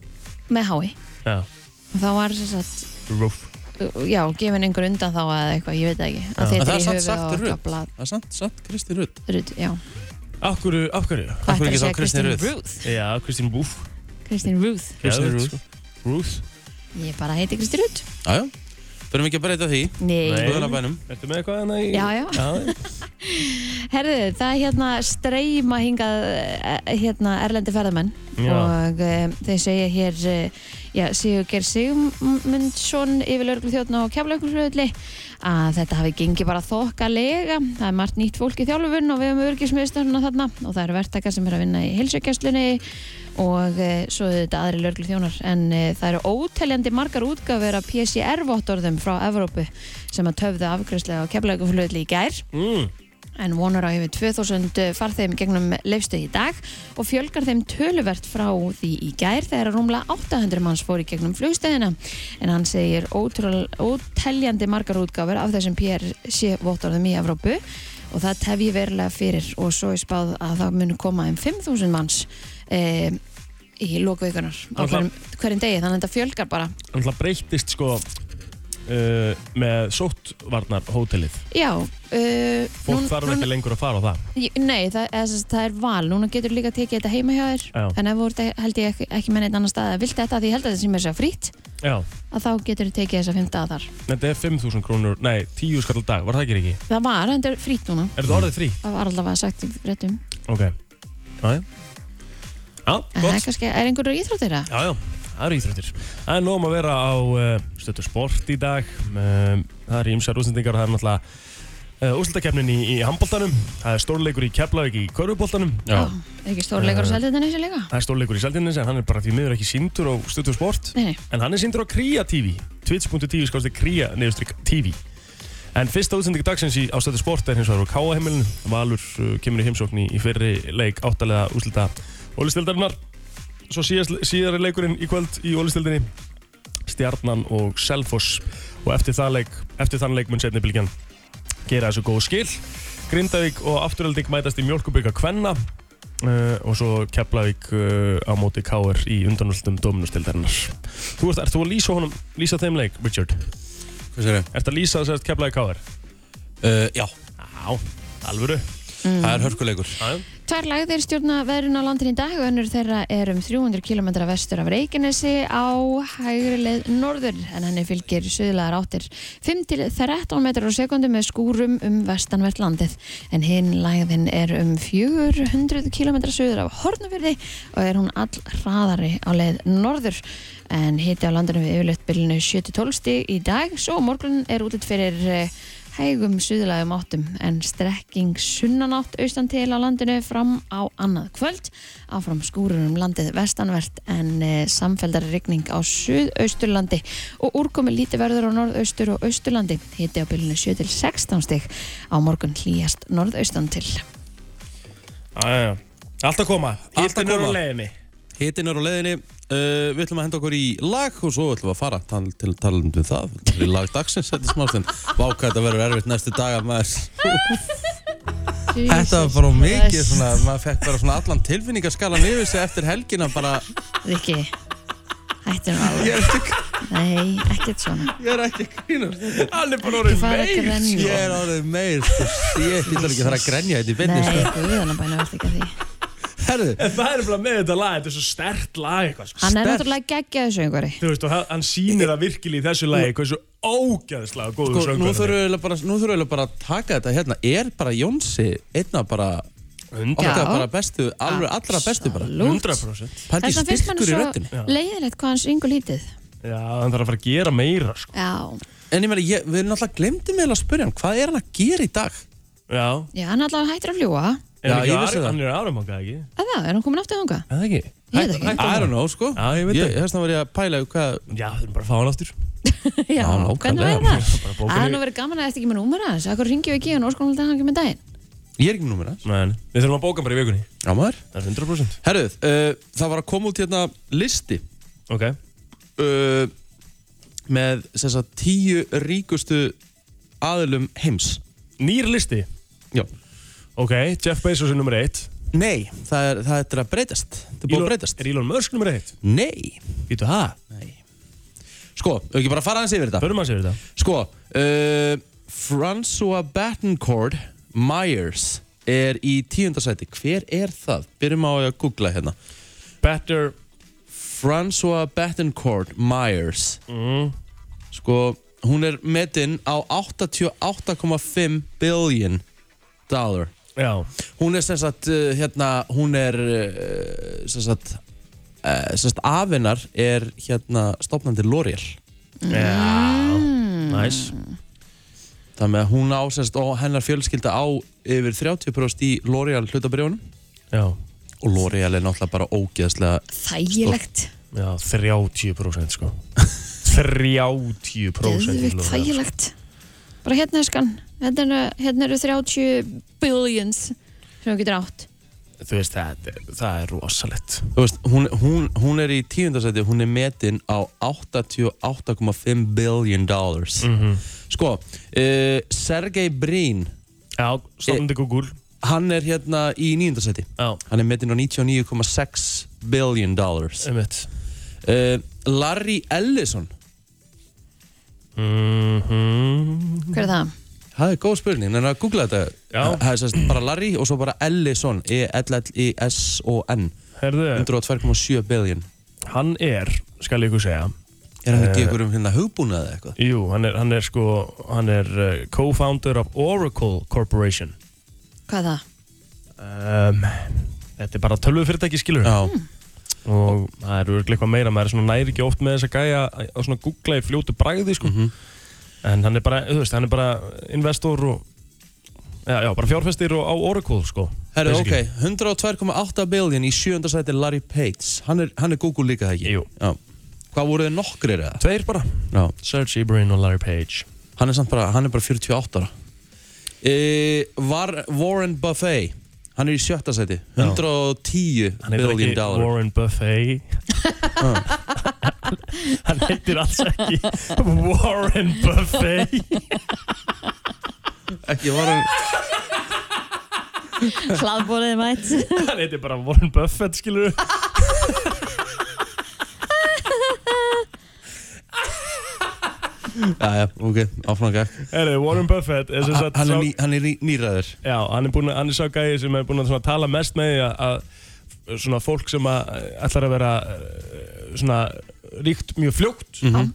C: með hái
A: já,
C: og þá var sem sagt
A: rúf
C: já, gefin einhver undan þá eða eitthvað, ég veit það ekki að
A: Já.
C: þið
B: En það er
C: er í
B: samt
C: höfuð
B: sagt
C: og
B: Ruth.
C: gabla
B: Það er sant, sant, Kristi Ruth
C: Ruth, já
A: Af hverju, af hverju?
B: Af hverju
C: Ætlar
B: ekki
C: að
B: þá
C: segja
B: Kristín
C: Kristín
B: Ruth?
C: Ruth
A: Já, Kristín Rúf
C: Kristín Ruth,
B: Kristín
A: Geðveikt,
B: Ruth.
A: sko. Ruth
C: ég bara heiti Kristín Ruth
B: Jájá, þurfum ekki að breyta því
A: Nei.
C: Nei,
B: Guðanabænum
A: Ertu með eitthvað hana í...
C: Já, já. herðu, það er hérna streyma hingað eh, hérna erlendi ferðamenn
A: Já.
C: og um, þeir segja hér uh, já, Sigur Sigmundsson yfir lögreglu þjóðna á keflaugursflöðli að þetta hafi gengið bara þokkalega það er margt nýtt fólk í þjálfun og við höfum örgismiðstöðuna þarna og það eru verktaka sem er að vinna í heilsugjastlunni og uh, svo eru þetta aðri lögreglu þjónar en uh, það eru óteljandi margar útgafur af PCR-vottorðum frá Evrópu sem að töfðu afgræslega á keflaugursflöðli í gær
A: Mm.
C: en vonar á yfir 2000 farþeim gegnum leifstuð í dag og fjölgar þeim töluvert frá því í gær þegar rúmlega 800 manns fór í gegnum flugstöðina en hann segir ótrúl- óteljandi margar útgáfur af þessum PRC-vottorðum í Evrópu og það tefji verulega fyrir og svo er spáð að það muni koma um 5.000 manns e, í lokveikunar á
A: Það-
C: hverjum, hverjum degi þannig að þetta fjölgar bara
A: Það breyttist sko uh, með sóttvarnar hótelið
C: Já, uh,
A: Fólk þarf ekki lengur að fara á það
C: J- Nei, það, eða, sem sagt, það er val, núna getur líka tekið þetta heima hjá þér
A: Já.
C: en ef þú ert held ég ekki, ekki með neitt annar stað að vilt þetta, af því ég held að þetta sem er sér frýtt
A: Já,
C: að þá getur þú tekið þessa fimm dagar þar
A: þetta er 5.000 krónur, nei, 10 skall á dag, var það ekki ekki?
C: Það var, þetta er frýtt núna
A: Er þetta orðið frí?
C: það var allavega sagt í réttum
A: Ok, já, já Já,
C: en það er
A: gott,
C: kannski, er einhverjur íþróttir það?
A: já, já, það eru íþróttir Það er nóg um að vera á uh, stötu sport í dag um, Það eru ímsar útsendingar og það er náttúrulega uh, úrslutakefnin í, í handbóltanum Það er stórleikur í Keflavík í körfubóltanum
B: Já,
C: Er ekki stórleikur
A: Eh.
C: og sældið þessi líka?
A: Það er stórleikur í Saldinnes en hann er bara því miður ekki síndur á stötu sport
C: Nei, nei,
A: En hann er síndur á Kría TV Twitch.tv skáðast Kría neðustrykk TV En fyrsta útsending dagsins í ástættu sport er hins vegar á Káaheimilin Valur uh, kemur í heimsókn í- í fyrri leik áttalega úslita Ólistöldarinnar Svo síðast, síðari leikurinn í kvöld í Ólistildinni Stjarnan og Selfoss Og eftir, það leik, eftir þann leik mun setni bylgjan gera þessu góð skil Grindavík og Afturölding mætast í mjölkubika Kvenna uh, og svo Keflavík uh, á móti K.R. í undanvöldum Dominustildarinnar Þú ert, ert þú að lýsa honum, lýsa þeim leik, Richard?
B: Hvað sér ég?
A: Ert að lýsa þess að Keflavík K.R.?
B: Uh, já,
A: Já, alvöru
B: það er hörkuleikur.
A: Já,
C: Tvær lagðir stjórna veðrun á landin í dag og önnur þeirra er um 300 km vestur af Reykjanesi á hægri leið norður en henni fylgir suðlaðar áttir 5 til 13 metrar á sekundu með skúrum um vestanvert landið en hinn lagðin er um 400 km suður af Hornafjörði og er hún all hraðari á leið norður en hiti á landinu við yfirleitt bylunu 7-12 stig í dag svo á morgun er útlitt fyrir eh, hægum suðlægum áttum en strekking sunnanátt austan til á landinu fram á annað kvöld áfram skúrur um landið vestanvert en e, samfeldari rigning á suðausturlandi og úrkomi lítið verður á norðaustur og austurlandi hiti á bylunu 7 til 16 stig á morgun hlýjast norðaustan til
A: já, já Allt að koma,
B: Allt að
A: Hitinn er á
B: koma.
A: leiðinni
B: Hitinn er á leiðinni, uh, við ætlum að henda okkur í lag og svo ætlum við að fara tal, til talum við það. Það er lag dagsins, þetta er smástund. Vákvæð, þetta verður erfitt næstu daga, maður. Þetta var bara mikið svona, maður fekk bara svona allan tilfinningaskalan yfir sig eftir helgina bara,
C: Viki, hættu nú alveg
B: ég er ekki,
C: Nei, ekkert svona
B: ég er ekki að grínast.
A: Hann er bara orðið
C: fara að
A: meir sko.
C: grenja.
B: Ég er árið meir, sko, ég ætlar ekki að fara að grenja þetta í
C: Nei,
B: beinni, sko.
C: guðanabæna verður ekki að því
B: Herðu,
A: En það er bara með þetta lag, þetta er svo stert lag eitthvað sko.
C: Hann er
B: Sterkt.
C: náttúrulega geggjaðu söngvari
A: Þú veist, og hann- hann sýnir það virkilega í þessu lagi hversu ógæðslega góður
B: sko, nú
A: söngur
B: þurfum við eiginlega bara, nú þurfum við eiginlega bara að taka þetta hérna. Er bara Jónsi einna bara,
A: Hundra-
B: okkar
C: Já.
B: bara bestu, alveg allra bestu bara?
A: 100%
B: Pældi
C: Þess vegna finnst mann
B: styrkur í röddinni.
C: svo leiðilegt hvað hann syngur lítið
A: Já, hann þarf að fara að gera meira sko.
C: Já,
B: En ég meina, ég- við erum alltaf glemdum eiginlega að spyrja hann, hvað er hann að gera í dag?
A: Já,
C: já, hann er allavega hættur að fljúa
A: er
B: Já,
A: hann ekki
B: ég vissi
A: Ari-
B: það.
A: Hann er áramangað ekki
C: að það, er hann komin aftur þangað?
A: Er það ekki?
C: Ég veit ekki.
B: I don't know, sko.
A: Já, ég veit það.
B: Þess vegna var ég að pæla í hvað,
A: Já, þurfum bara að fá hann aftur
C: Já,
B: nákvæmlega.
C: hvernig væri það?
A: Bara
C: Það
A: bóka
C: er
A: niður.
C: nú verið gaman að þetta ekki með númur hans Akkur ringjum við ekki hann og skoðum að hann ekki með daginn
B: ég er ekki með númur hans.
A: Nei, nei. Við þurfum að bóka hann bara í vikunni
B: Já, maður.
A: Það er 100%
B: Herruð, uh, það var að koma út hérna listi
A: Ok
B: uh, með þess að tíu ríkustu aðilum heims.
A: Nýr listi
B: Já.
A: Ok, Jeff Bezos er nummer 1
B: Nei, það er, það er að breytast. Það er búið að breytast.
A: Er Elon Musk nummer 1?
B: Nei.
A: Býtu það?
B: Nei. Sko, ef ekki bara fara aðeins yfir þetta.
A: Förum að sér þetta
B: Sko, uh, François Battencourt Myers er í tíundasæti. Hver er það? Byrjum á að googla hérna.
A: Better
B: François Battencourt Myers.
A: mm,
B: Sko, hún er metinn á 88,5 billion dollar.
A: Já
B: Hún er sem sagt, uh, hérna, hún er uh, sem sagt, uh, sem sagt afinnar er hérna stopnandi L'Oreal.
A: Já Næs
B: Þannig að hún á, sem sagt, og hennar fjölskylda á yfir 30% í L'Oreal hlutabrjónum.
A: Já
B: og L'Oreal er náttúrulega bara ógeðslega
C: Þægilegt,
A: Já, 30% sko [LAUGHS] 30%
C: döðvikt
A: Elon Musk.
C: þægilegt Bara hérna skan Hérna eru, hérna eru 30 billions sem þú getur átt
A: Þú veist, það, er- það er rosalegt
B: Þú veist, hún, hún, hún er í tíundasæti hún er metinn á 88,5 billion dollars
A: Mhm.
B: sko, uh, Sergey Brin Eh,
A: Já, stofnandi Google
B: hann er hérna í níundasæti
A: Já,
B: hann er metinn á 99,6 billion dollars
A: einmitt
B: uh, Larry Ellison
A: Mhm.
C: Hver er það?
B: það er góð spurning, en að googla þetta
A: Já.
B: það er sérst bara Larry og svo bara Ellison E E-L-L-I-S-O-N
A: Herðu,
B: 102,7 billion
A: sko. hann er, skal ég ykkur segja eh,
B: er hann ekki ykkur um hérna hugbúnað eða eitthvað
A: Jú, hann er, hann er sko, hann er uh, co-founder of Oracle Corporation
C: Hvað er það?
A: um, Þetta er bara tölvu fyrirtæki skilur
B: Já.
A: og það er örglega eitthvað meira maður er svona næri ekki oft með þess að gæja að að svona googla í fljótu bragði sko.
B: Mhm.
A: en hann er bara, þú veist, hann er bara investor og já, já, bara fjárfestir og á Oracle sko,
B: Herru, ok,
A: basically.
B: 102,8 billion í sjönda sæti Larry Page hann er, hann er Google líka það ekki
A: Jú.
B: Já. Hvað voru þið nokkrir eða?
A: Tveir bara,
B: Já.
A: Serge Ibrin og Larry Page
B: Hann er samt bara, hann er bara 48 ára e, var Warren Buffet hann er í sjötta sæti 110
A: Hann heitir
B: billion
A: ekki
B: dollar
A: Warren Buffet Hann
B: [LAUGHS]
A: heitir alls ekki Warren Buffet
B: Ekki var hann
C: Hlaðbólið er mætt
A: Hann heiti bara Warren Buffett, skilur
B: Jæja, ok, áfram gekk
A: Herri, Warren Buffett er sem
B: Hann
A: sagt
B: hann er,
A: sá-
B: ný, hann er ný, nýræður
A: Já, hann er, búin, hann er sá gæði sem er búin að svona tala mest með því að, að svona fólk sem að ætlar að vera eh, svona ríkt mjög fljótt
B: Mhm.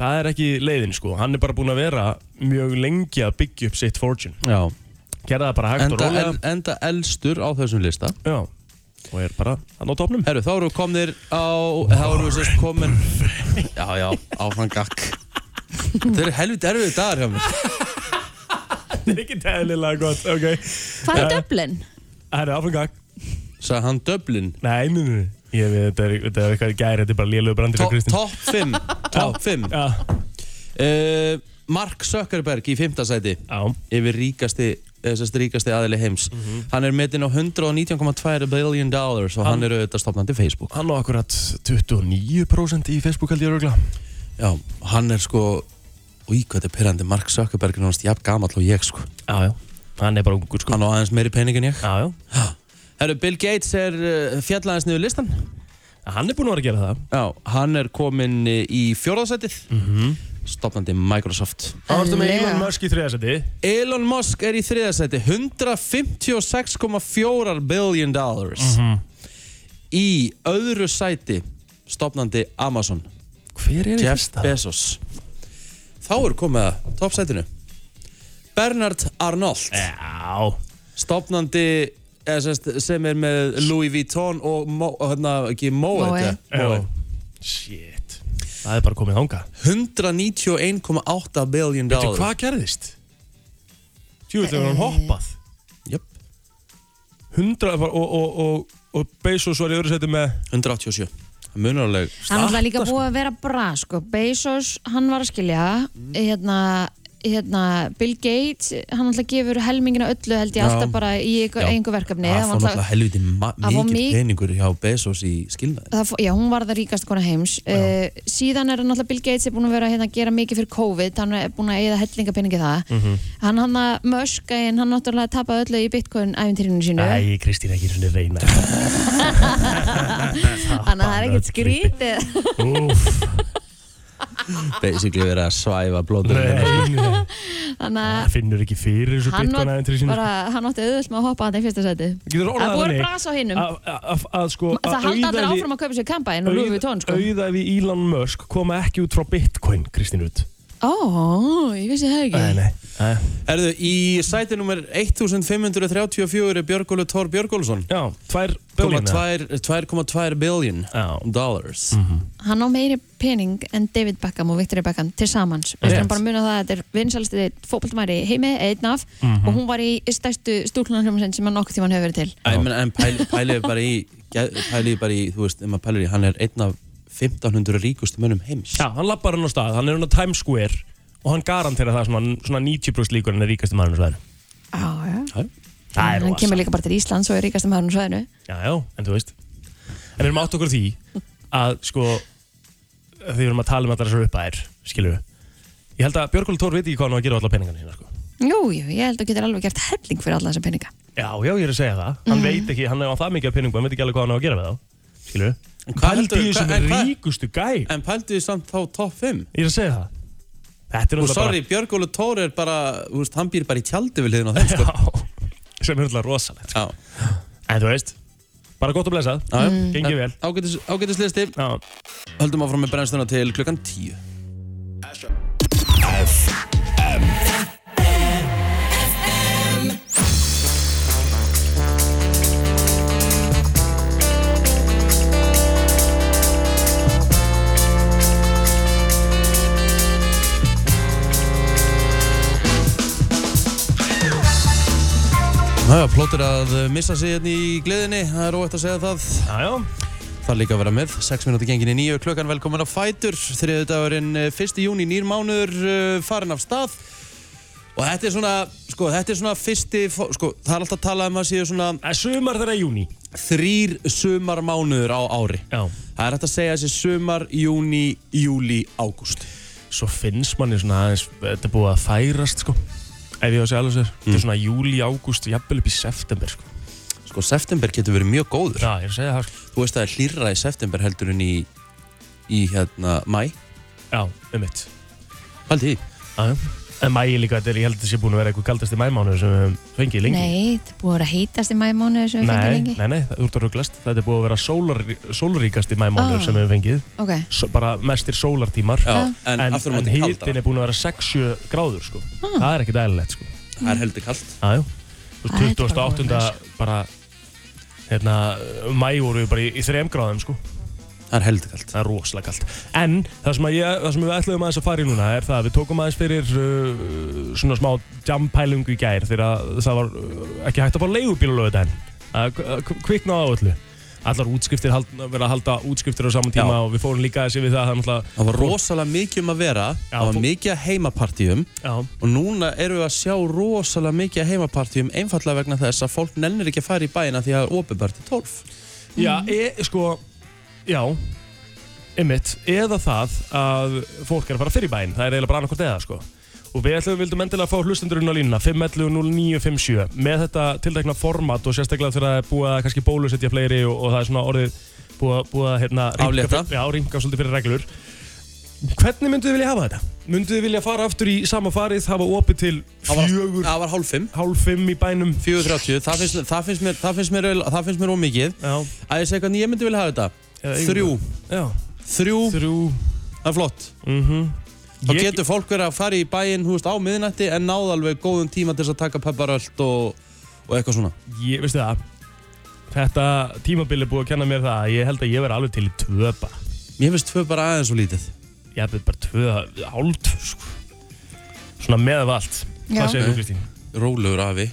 A: það er ekki leiðin sko, hann er bara búin að vera mjög lengi að byggja upp sitt fortune
B: Já
A: gerða það bara hægt og
B: enda,
A: rólega
B: el, enda elstur á þessum lista
A: Já, og er bara hann á topnum
B: Herru, þá eru komnir á Þá eru við sérst komin Já, já, áfram gekk Þetta er helviti erfið dagar
A: [LAUGHS]
B: hjá mér
A: Það er ekki teðlilega gott, ok Eh,
C: Hvað
B: Eh.
C: er
A: Já.
C: döblin?
A: Það er áfengag
B: Sæði hann Dublin
A: Nei, nei, nei, nei. ég veit, þetta er- þetta er eitthvað í gæri, þetta er bara lélögu brandir
B: To-
A: frá Kristín
B: Topp 5 Topp 5
A: Já,
B: uh, Mark Zuckerberg í 5. sæti
A: já, Mhm.
B: yfir ríkasti þessast ríkasti aðili heims hann er metinn á 119,2 billion dollars og hann, er auðvitað stopnandi Facebook
A: hann á akkurat 29% í Facebook held ég örugla
B: já, hann er sko í hvað þetta er pyrrandi Mark Zuckerberg er náttúrulega jafn gamall og ég sko
A: Já, já, hann er bara ungur sko
B: hann á aðeins meiri pening en ég
A: Já, já,
B: Herru, Bill Gates er uh, fjallaðins niður listan
A: hann er búinn að vera að gera það
B: já, hann er komin uh, í fjórðasætið mm
A: Mhm.
B: stopnandi Microsoft
A: Hann varstu með
C: Eðlilega.
A: Elon Musk í þriðasæti
B: Elon Musk er í þriðasæti 156,4 billion dollars
A: Mhm.
B: í öðru sæti stopnandi Amazon
A: Hver er
B: Jeff Bezos þá er komið að toppsætinu Bernard Arnold
A: Já,
B: stopnandi eða sem sagt, sem er með Louis Vuitton og Mo, og hérna, ekki Moe
C: Moe.
B: þetta?
A: já
B: Moe.
A: Shit Það er bara komið þanga
B: 191,8 billion
A: Veitu
B: dollars Eh,
A: hvað gerðist? Tjúvill
C: Eh.
A: hefur hann hoppað
B: Jöp,
A: 100 bara- og, og, og, og Bezos var í öðru sæti með
B: 187 það munar alveg
C: Hann var líka búið að vera bra sko. Bezos, hann var að skilja hérna, hérna Bill Gates, hann alltaf gefur helmingina öllu held ég
B: Já.
C: alltaf bara í einhver,
B: Já.
C: einhver verkefni
B: það fór
C: Hann
B: náttúrulega helviti
C: það fór
B: mikið
C: mik-
B: peningur hjá Bezos í skilnaði
C: það, fó- já, hún var það ríkast konar heims uh, síðan er náttúrulega Bill Gates er búin að vera hérna, að gera mikið fyrir COVID, hann er búin að eigða hellingapeningi í það,
B: Mhm.
C: hann hann að Musk, en hann náttúrulega tapaði öllu í Bitcoin æfintýrinu sínu, [LAUGHS]
A: Æ, Kristín ekki svona reyna
C: þannig að það er ekkert
A: Öllu.
C: skrítið [LAUGHS]
A: Úff,
B: [LAUGHS] basically verið að svæfa blóður
A: nei, nei.
C: þannig að
A: Það finnur ekki fyrir þessu
C: hann,
A: bitcoin aðeintri
C: átt-
A: sínu sko.
C: bara, hann átti auðvöld með að hoppa hann í fyrsta sæti
A: Getur
C: það
A: orðað
C: voru
A: þannig
C: bras á hinnum
A: að- að- að- að sko
C: það
A: að
C: halda allir
A: auðæfi-
C: áfram að kaupa sér kampæn og lúfi við tón sko
A: auða við Elon Musk koma ekki út frá Bitcoin, Kristín Rut
C: ó, ég vissi það ekki
A: nei, nei
B: Erðu, í sæti nummer 1534 er Björgólu Tór Björgólfsson
A: Já, tvær
B: Koma
A: biljóna
B: tvær- 2,2 billion
A: Já. Mhm.
B: dollars
C: hann á meiri pening en David Beckham og Victoria Beckham til samans við
A: Rétt.
C: skulum bara muna það að þetta er vinsælsti fótboltamæri í heimi, einn af
A: Mhm.
C: og hún var í stærstu stúlunarhljómsinn sem hann nokkuð tíma hefur verið til
B: Æ, menn, En pæli- pæliði bara í gæ- pæliði bara í, þú veist, um að pæliði hann er einn af 1500 ríkustu mönnum heims
A: Já, hann lappar hann á stað, hann er hann á Times Square og hann garantera það svona, svona 90% líkur en er ríkasti maðurinn á svæðinu
C: já, já
A: Það er
C: hann
A: rosa.
C: kemur líka bara til Íslands og er ríkast um hann og svæðinu
A: Já, já, en þú veist En við erum átt okkur á því að sko þegar við erum að tala um allar þessar uppæðir skilur við Ég held að Björgóli Tór veit ekki hvað hann á að gera allar peningana sína sko.
C: jú, jú, ég held að þú getur alveg gert helling fyrir alla þessa peninga
A: Já, já, ég er að segja það Hann veit ekki, hann er á það mikið af peningum hann veit ekki alveg hvað hann á að gera við þá skilur
B: En
A: við
B: hvað heldur-
A: Pældi í
B: hvað- en
A: þessum
B: hvað-
A: ríkustu gæ
B: En pæliði samt þá topp 5
A: Ég er að segja það Þetta er
B: Og
A: náttúrulega
B: sorry, Björgólu Tór er bara, þú veist, hann býr bara í tjaldi við hliðin á þeim sko.
A: bara Já, sem er náttúrulega rosalegt sko.
B: Já,
A: En þú veist, bara gott og blessað
B: já, já.
A: Gengið vel
B: Ágætis- Ágætislisti,
A: Já,
B: höldum áfram með brennstuna til klukkan 10 Já, já, plótur að missa sig hérna í gleðinni, það er óætt að segja það.
A: já, já
B: Það er líka að vera með, 6 minúti gengin í nýju klukkan, velkomin á Fætur, þriðu dagurinn, 1. júni, nýr mánuður, uh, farin af stað. Og þetta er svona, sko, þetta er svona fyrsti, fó- sko, það er alltaf að tala um að séu svona
A: Það er sumar þegar að júni
B: þrýr sumarmánuður á ári.
A: Já
B: Það er hægt að segja þessi sumar, júni, júli, ágúst.
A: Svo finnst manni svona aðeins Þetta er búið að færast sko En ef ég á að segja alveg sér þetta er svona júli, ágúst, jafnvel upp í september sko.
B: Mm. Sko, september getur verið mjög góður.
A: Já, ég er að segja það. sko.
B: Þú veist að það er hlýrra í september heldur en í, í hérna, mæ.
A: Já, um mitt.
B: Haldi því.
A: Já, já. en mæi líka, þetta er, ég held að þetta sé búin að vera eitthvað kaldasti mæmánu sem við höfum fengið lengi
C: Nei, það er búið að vera heitast í mæmánu sem við fengum
A: nei,
C: lengi
A: nei, nei, þú ert að rugglast Þetta er búið að vera sólar, sólríkasti mæmánuður
C: Ah.
A: sem við höfum fengið
C: Ok,
A: S bara mestir sólartímar
B: Já, en
A: en
B: aftur á móti kaldara.
A: hitinn er búin að vera 6-7 gráður sko.
C: Ah.
A: Það er ekkit dælilegt sko.
B: Það er heldur kallt.
A: Jájú
C: Æ, Ah, þetta er bara
A: 28. bara hérna, mæ voru við bara í, í 3 gráðum sko.
B: Það er heldur kallt.
A: Það er rosalega kalt En það sem, að ég, það sem við ætluðum aðeins að fara í núna er það að við tókum aðeins fyrir uh, svona smá jampælingu í gær þegar að það var uh, ekki hægt að fá leigubíl á lögudaginn að að kviknaði á öllu Allar útskriftir hald, verið að halda útskriftir á saman tíma
B: Já.
A: og við fórum líka aðeins yfir það Það er náttúrulega
B: Það var rosalega mikið um að vera.
A: Já,
B: það var
A: fólk-
B: mikið að heimapartíum.
A: Já,
B: Og núna erum við að sjá rosalega mikið að heimapartíum einfallega vegna þess að fólk nennir ekki að fara í bæina því að opinbært er 12.
A: Já, e, sko, já, ymmit, eða það að fólk er að fara fyrir bæinn, það er eiginlega bara annarkort eða, sko. Og við ætlum, vildum endilega fá hlustendurinn á línuna, 511-0957, með þetta tiltekna format og sérstaklega þegar það er búið að kannski bólusetja fleiri og, og það er svona orðið búið, að- búið að, hérna,
B: Aflétta.
A: Já, rýmka svolítið fyrir reglur. Hvernig mynduðu vilja hafa þetta? Mynduðu vilja fara aftur í sama farið, hafa opið til
B: Það var-
A: fjögur,
B: Það var hálf 5.
A: hálf fimm í bænum?
B: 4.30, það finnst, það finnst mér, það finnst mér, það finnst mér ómikið.
A: Já,
B: Að ég segja hvernig ég myndi vilja hafa þetta.
A: Eða
B: Þrjú,
A: já,
B: þrjú,
A: þrjú,
B: það er flott.
A: mhm.
B: Þá
A: Ég-
B: getur fólk verið að fara í bæinn, hú veist, á miðnætti en náð alveg góðum tíma til þess að taka pepparöld og, og eitthvað svona.
A: Ég, veistu það Þetta tímabil er búið að kenna mér það að Ég held að ég verði alveg til í tvö bara
B: Mér finnst tvö bara aðeins og lítið.
A: Ég hef bara tvö, hálf sko. Svona með af allt
C: Já.
A: Hvað segir þú Kristín?
B: Rólegur afi.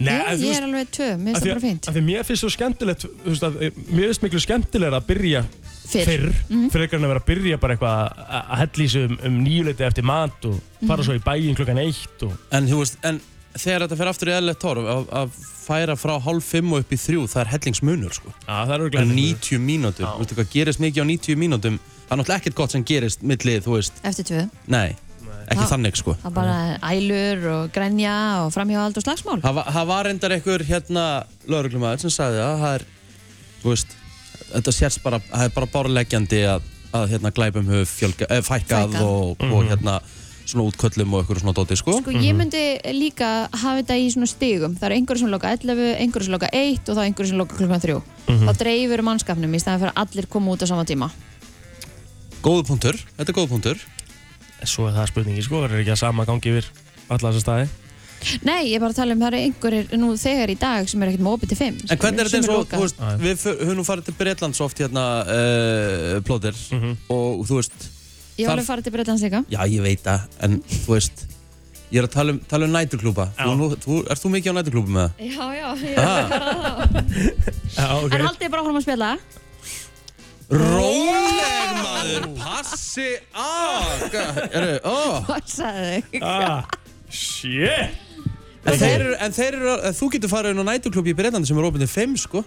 A: Nei,
C: Já,
A: að þú
C: ég
A: veist-
C: er alveg tvö,
A: að
C: mér finnst
A: því
C: það bara fínt
A: að því mér finnst svo skemmtilegt þú veist, að, Mér finnst miklu skemmtilega að byrja fyrr,
C: Fyrr, Mhm.
A: frekar en að vera að byrja bara eitthvað að- að að hella í sig um, um nýjuleiti eftir mat og fara svo í bæinn klokkan eitt og
B: En hú veist, en þegar þetta fer aftur í eðlilegt torf að, að færa frá hálf fimm og upp í þrjú, það er hellingsmunur sko.
A: Já, það er
B: Það er
A: örugglega-
B: 90 mínútur.
A: Já.
B: Þú veist, hvað gerist mikið á 90 mínútum? Það er náttúrulega ekkert gott sem gerist millið, þú veist,
C: eftir tvö
B: nei, ekki
C: Það-
B: þannig sko.
C: Það bara ælur og grænja og framhjáhald og slagsmál
B: Það var- það var reyndar einhver hérna lauruglumæður sem sagði að það er, þú veist, þetta sérst bara, það er bara bárleggjandi að, að hérna glæpum höf fjölga, eh, fækkað
C: Fækkað.
B: og,
A: Mhm.
B: og hérna svona útköllum og einhverju svona dóti, sko.
C: Sko ég myndi líka hafa þetta í svona stigum Það eru einhverjum sem loka 11, einhverjum sem loka 1 og þá einhverjum sem loka klukkan 3 Þá dreifur mannskapnum í staðan fyrir að allir koma út á sama tíma
B: Góðu punktur, þetta er góðu punktur.
A: Svo er það spurningi sko, verður ekki að sama gangi yfir alla þessa staði
C: Nei, ég er bara að tala um það eru einhverjir nú þegar í dag sem er ekkert með opið til 5
B: En hvernig er þetta eins og, þú veist,
A: Já, já.
B: við för- höfum nú farið til Breitland svo oft hérna uh, plóðir
A: Mhm.
B: og þú veist,
C: Ég var
B: þarf-
C: alveg farið til Breitlands líka
B: já ég veit það, en þú veist, ég er að tala um, tala um næturklúpa.
A: Já.
B: Þú, nú- þú, ert þú mikið á næturklúpa með það?
C: Já, já, ég er alveg farið að þá
A: Já, ok
C: En haldið bara áfram að spila
B: Róleg maður, passi á Eru, ó
C: [LAUGHS] Hvað sagði þau?
A: ah, Shit
B: En þeir eru, en þeir eru, en þú getur farið inn á nætuklubbi í Breitlandi sem er opinn til 5 sko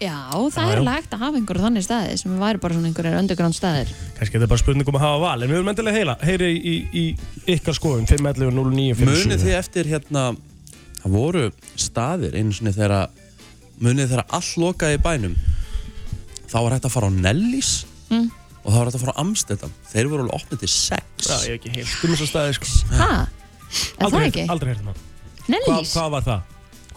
C: Já, það
A: Já,
C: er
A: já.
C: lagt að hafa einhverju þannig staði sem væri bara svona einhverjir underground staðir
A: Kannski þetta er bara spurning um að hafa val En við viljum endilega heila, heyri í, í, í ykkar skoðum 511 0957
B: Munið þið eftir hérna, það voru staðir einu sinni þegar að- Munið þegar all lokaði í bænum Þá var hægt að fara á Nellis Og þá var hægt að fara á Amsterdam Þeir voru alveg opnið til 6
A: Já, ég hef ekki heilt um þess að staði sko
C: Ha? Er það
A: Aldrei,
C: ekki?
A: heyrt- aldrei heyrðum hann Hva,
C: Nellís?
A: Hvað var það?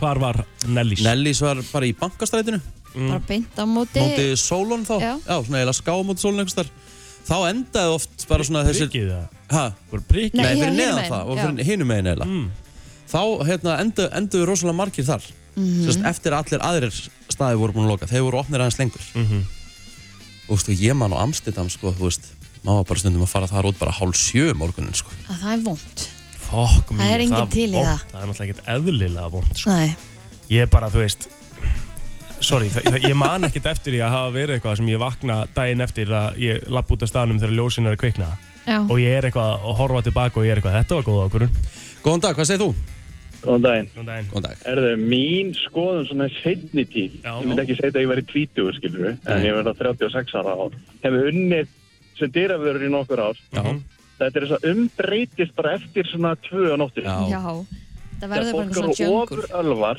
A: Hvar var Nellis? Mm.
B: Nellis var bara í bankastrætinu
C: Bara beint á móti
B: Mm. Móti sko. Sólon þá
C: Já.
B: svona eiginlega ská móti Sólon einhvers þar Þá endaði oft bara svona
A: Þessir
B: þessir
A: Prikið það?
B: Ha?
A: Voru prikið?
C: Nei,
B: Nei,
C: hjá
B: fyrir
C: hinum
B: neðan
C: megin,
B: það
C: já.
B: og fyrir hinum megin eiginlega
E: Mm.
B: Þá hérna, endu, endu við rosalega margir þar
C: Mhm.
B: Sérst, Eftir að allir aðrir staði voru búin að loka Þeir voru opnir aðeins lengur
E: Mhm.
B: Þú veist, og ég man á Amstidam sko, Þú veist, maður bara stundum að fara þar út bara hálf sjö um morgunin sko.
C: Að það er vond
A: Fokk mér,
C: er enginn
A: var
C: til í
A: vont.
C: það.
A: Það er náttúrulega ekkert eðlilega vond sko.
C: Nei,
A: Ég er bara, þú veist Sorry, það, það- ég man ekkert eftir því að hafa verið eitthvað sem ég vakna daginn eftir að ég lapp út af staðnum þegar ljósin er að kvikna
C: já
A: og ég er eitthvað að horfa tilbaka og ég er eitthvað þetta var góð ákvörun
B: Góðan dag, hvað segir þú?
E: Góðan daginn.
B: Góðan dag
E: Er það mín skoðun svona setni tíl?
A: Já.
E: Ég myndi ekki segja að ég væri 20, skilur við, en
B: Nei.
E: ég verði 36 ára ár. Hefur unnið sem dýrafjörður í nokkur ár.
B: Já,
A: Mhm.
E: Þetta er þess að umbreytist bara eftir svona tvö á nóttir.
B: já.
C: Já, Þetta verður bara
E: Þegar
C: svona
E: fólk
C: jöngur
E: eru ofurölvar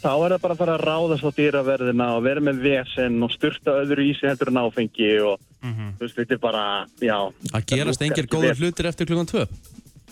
E: þá er það bara að fara að ráðast á dýraverðina og vera með vesen og styrta öðru í sig heldur en áfengi og þú veist, þetta er bara, já
B: Að gerast
E: lúkkar
B: engir
E: ekki vel.
B: góðir hlutir eftir klukkan 2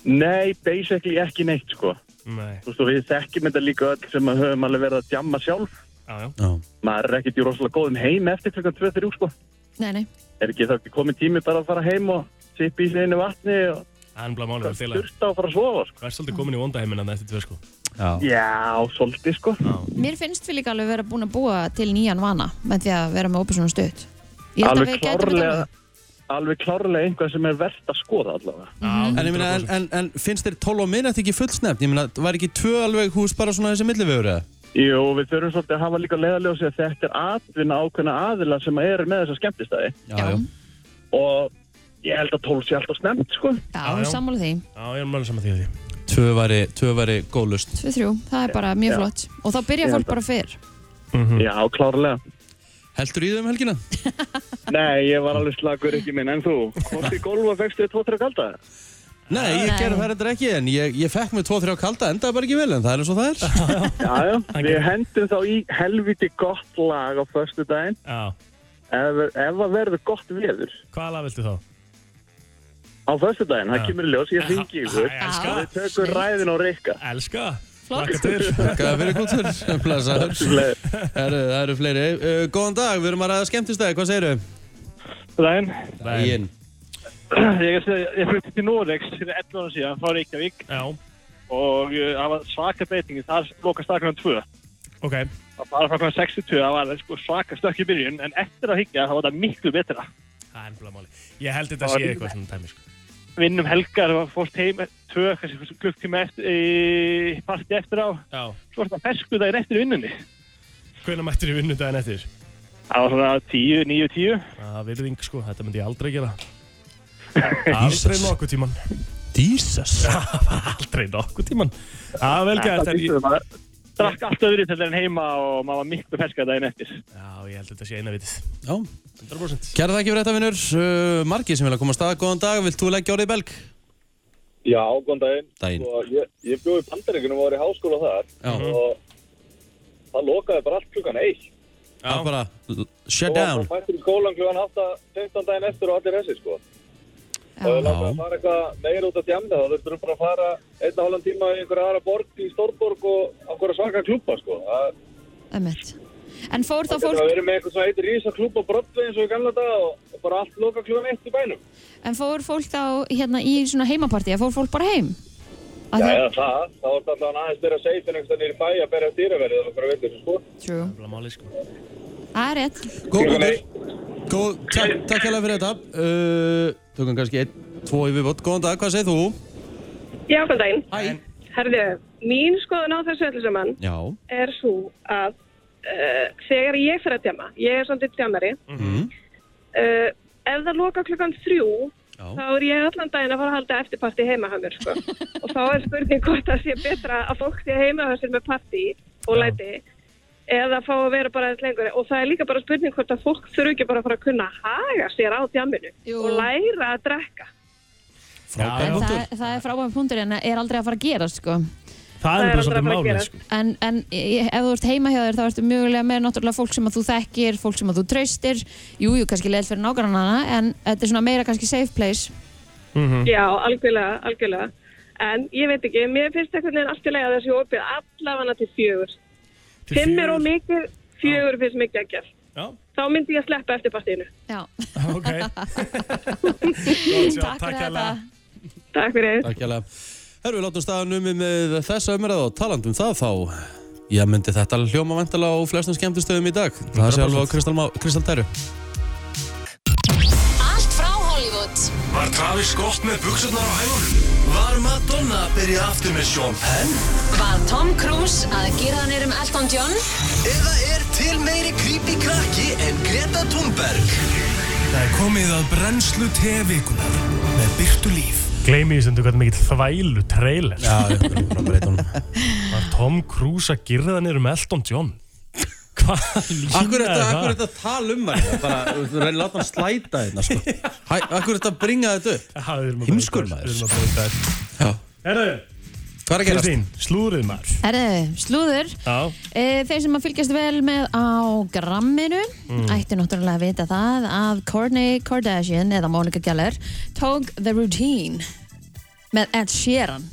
E: Nei, basically ekki neitt, sko
A: Nei,
E: Þú veist, og við þekkjum þetta líka öll sem að höfum alveg verið að djamma sjálf
A: já, já
B: Já,
E: maður er ekkert í rosalega góðum heim eftir klukkan 2-3, sko
C: Nei, nei,
E: Er ekki þá ekki komið tími bara að fara heim og sippa í sig einu vatni og
A: Það er bara málið að stila
E: styrta og fara að sofa, sko
A: Það er svolítið komin í vondaheiminn en eftir tvö sko
B: já.
E: Já, svolítið, sko
C: mér finnst við líka alveg vera búin að búa til nýjan vana með því að vera með opið svona stutt Ég held að
E: Alveg
C: við gætum þetta
E: klárlega alveg klárlega einhvað sem er verðt að skoða allavega
C: Mhm.
B: En, ég meina, en, en, en finnst þér 12 á minnætt ekki fullsnefn? Ég meina, var ekki 2 alveg hús bara svona þessi millivegur eða?
E: Jú, við þurfum svolítið að hafa líka leiðaljósi að þetta er atvinna ákveðna aðila sem er með þessa skemmtistæði
C: Já.
E: og ég held að tól sé alltaf snemt, sko.
A: Já,
C: Já,
A: já.
C: sammála því,
A: Já, ég er málið saman því að því
B: 2 væri, 2 væri góðlust
C: 2-3, það er bara mjög
E: Já.
C: flott og þá byrja
E: Ég held
C: fólk bara fyrr
A: Mhm.
E: Já, klárlega.
B: Heldur í þau um helgina?
E: [LAUGHS] Nei, ég var alveg slagur ekki minn, en þú, hvort í golfa fegstu þið tvo-tre kalda?
B: Nei, ég
C: Nei.
B: gerði það reyndar ekki en ég, ég fekk mig 2-3 kalda endaði bara ekki vel en það er eins og
A: [LAUGHS]
B: það er
E: Já, já, við hendum þá í helviti gott lag á förstu daginn
A: Já,
E: ef, ef að verður gott veður
A: hvaða lag viltu þá?
E: á förstu daginn, það kemur í ljós, ég ringi ykkur.
A: Æ, elska,
E: Við tökum ræðin og rikka.
A: elska
C: Flott.
A: Lakka til
B: Takk fyrir
E: [LAUGHS]
B: kultur Blessaður Herru, Það eru fleiri uh, Góðan dag, við erum að ræða skemmtistæði, hvað segirðu?
F: Daginn.
B: Daginn
F: Ég, er- ég flytti til Noregs fyrir 11 ára síðan frá Reykjavík
A: Já,
F: og eh, það var svaka breytingi, það lokast það kl. 2.
A: ok
F: Það bara frá kl. 62, það var sko, svaka stökk í byrjun, en eftir að higgja þá var það miklu betra.
A: Það er bara málið Ég held þetta sé eitthvað svona dæmi sko.
F: Vinnum helgar, það fórst heim 2, kannski klukktíma eftir, e, partí eftir á,
A: Já
F: svo var það fersku daginn eftir í vinnunni.
A: Hvenær mættir í vinnu daginn eftir?
F: Það var svona 10, 9, 10.
A: Það er virðing sko, þetta myndi ég aldrei
B: [LAUGHS]
A: gera Aldrei nokkuð tíman
B: Jesus
A: [LAUGHS] Aldrei nokkuð tíman Já, vel gert en ég-
F: Drakk allt öðru til þeirra heima og maður var miklu ferska daginn eftir.
A: Já, ég held þetta sé eina vitið
B: Já,
A: 100%
B: kæra þakki fyrir þetta vinnur uh, Margi sem vilja koma að staða, góðan dag Vilt þú leggja orðið í belg?
G: [LAUGHS] Já, góðan daginn.
B: Daginn.
G: Og ég, ég bjóði í Bandaríkunum og var í háskóla þar
B: Já,
G: og það lokaði bara allt klukkan eitt.
B: það er bara l- Shut
G: Og
B: down
G: það fættur í skólan klukkan 8, 15 daginn eftir og allir þessi, sko.
C: Já.
G: Og ef
B: Já.
G: langar að fara eitthvað meira út að djamna þá þurftur bara að fara einn og halvan tíma í einhverja aðra borg í Stórborg og á hverja svaka klúpa, sko. Það
C: Einmitt. En fór þá
G: það getur
C: fólk
G: að vera með eitthvað svona eitt rísa klúpa brottvei eins og í gamla dag og, og bara allt loka klukkan eitt í bænum.
C: En fór fólk þá hérna í svona heimapartí að fór fólk bara heim? Að
G: Já,
C: þeir-
G: eða það. Þá er alltaf aðeins þeirra seitt en einhverstað nýri bæ að berja dýraverðið eða okkur að sko.
C: True.
A: Það er bara málið sko
C: Það er rétt.
B: Góð, góð, takk, takk hérlega fyrir þetta uh, Tökum kannski einn, tvo í viðbót Góðan dag, hvað segir þú?
H: Já, góðan daginn.
B: Hæ
H: Herðu, mín skoðun á þessu öllu saman
B: Já,
H: er svo að uh, þegar ég fyrir að djama, ég er svolítið djamari,
B: mm.
H: uh, ef það loka klukkan þrjú,
B: Já.
H: þá er ég allan daginn að fara að halda eftirparti heima hjá
B: [LAUGHS]
H: mér, sko. og þá er spurning hvort það sé betra að fólk sé heima hjá sér með partí og læti, eða fá að vera bara aðeins lengur. Og það er líka bara spurning hvort að fólk þurfi ekki bara að fara að kunna að haga sér á djaminu
C: Jú.
H: og læra að drekka.
A: Frábær
C: Það,
A: punktur
C: er- það er frábæðan punktur en er aldrei að fara að gera sko.
A: Það er
H: aldrei
A: bara
H: að
A: svolítið
H: fara að
A: málið
H: gerast.
A: sko
C: En, en ég- ef þú ert heima hjá þér þá ertu mjögulega með náttúrulega fólk sem að þú þekkir, fólk sem að þú traustir, jú, jú, kannski leil fyrir nágrannana en þetta er svona meira kannski safe place.
A: Mhm.
H: Já, algjörlega, algjörlega. En ég veit ekki, mér finnst einhvern veginn allt í lagi að þessi opið allafana til fjögur.
A: Til
H: Fimm er
A: fjögur.
H: og mikið, fjögur finnst mér geggjað.
A: Já,
H: Þá myndi ég sleppa eftir partíinu.
C: Já,
A: ok Gott, já,
C: takk fyrir
A: hérlega.
C: þetta.
H: Takk fyrir.
B: Takk hérlega Herru, við látum staðan um með þessa umræð og talandum það þá Já, myndi þetta hljóma vantala á flestum skemmtistöðum í dag Það sé alveg á Kristal Má- Kristal Tæru
I: Allt frá Hollywood
D: Var Travis Scott með buksurnar á hægur? Var Madonna að byrja aftur með Sean Penn?
I: Var Tom Cruise að gera hann erum Elton John
D: Eða er til meiri creepy krakki en Greta Thunberg? Það er komið að brennslu tevikunar með byrtu líf.
A: Gleimi því sem þú gæti mikill þvælu trailer
B: Já, ég er bara að breyta honum
A: [LAUGHS] Var Tom Cruise að girða hann um Elton
B: [LAUGHS]
A: John? Hvað lína
B: Akkur þetta,
A: er
B: akkur þetta tala um hann bara, þú reynir að láta hann slæta hérna sko. Hæ, akkur þetta bringa þetta upp
A: það?
B: Heimskur maður.
A: Heimskur maður
B: Já.
A: Herðu,
B: Hvað er að gerast?
A: Kristín, slúðrið maður
C: Herðu, slúður
A: Já,
C: E, Þeir sem að fylgjast vel með á gramminu
A: Mm.
C: ættu náttúrulega að vita það að Kourtney Kardashian eða Monica Geller tók The Routine með Ed Sheeran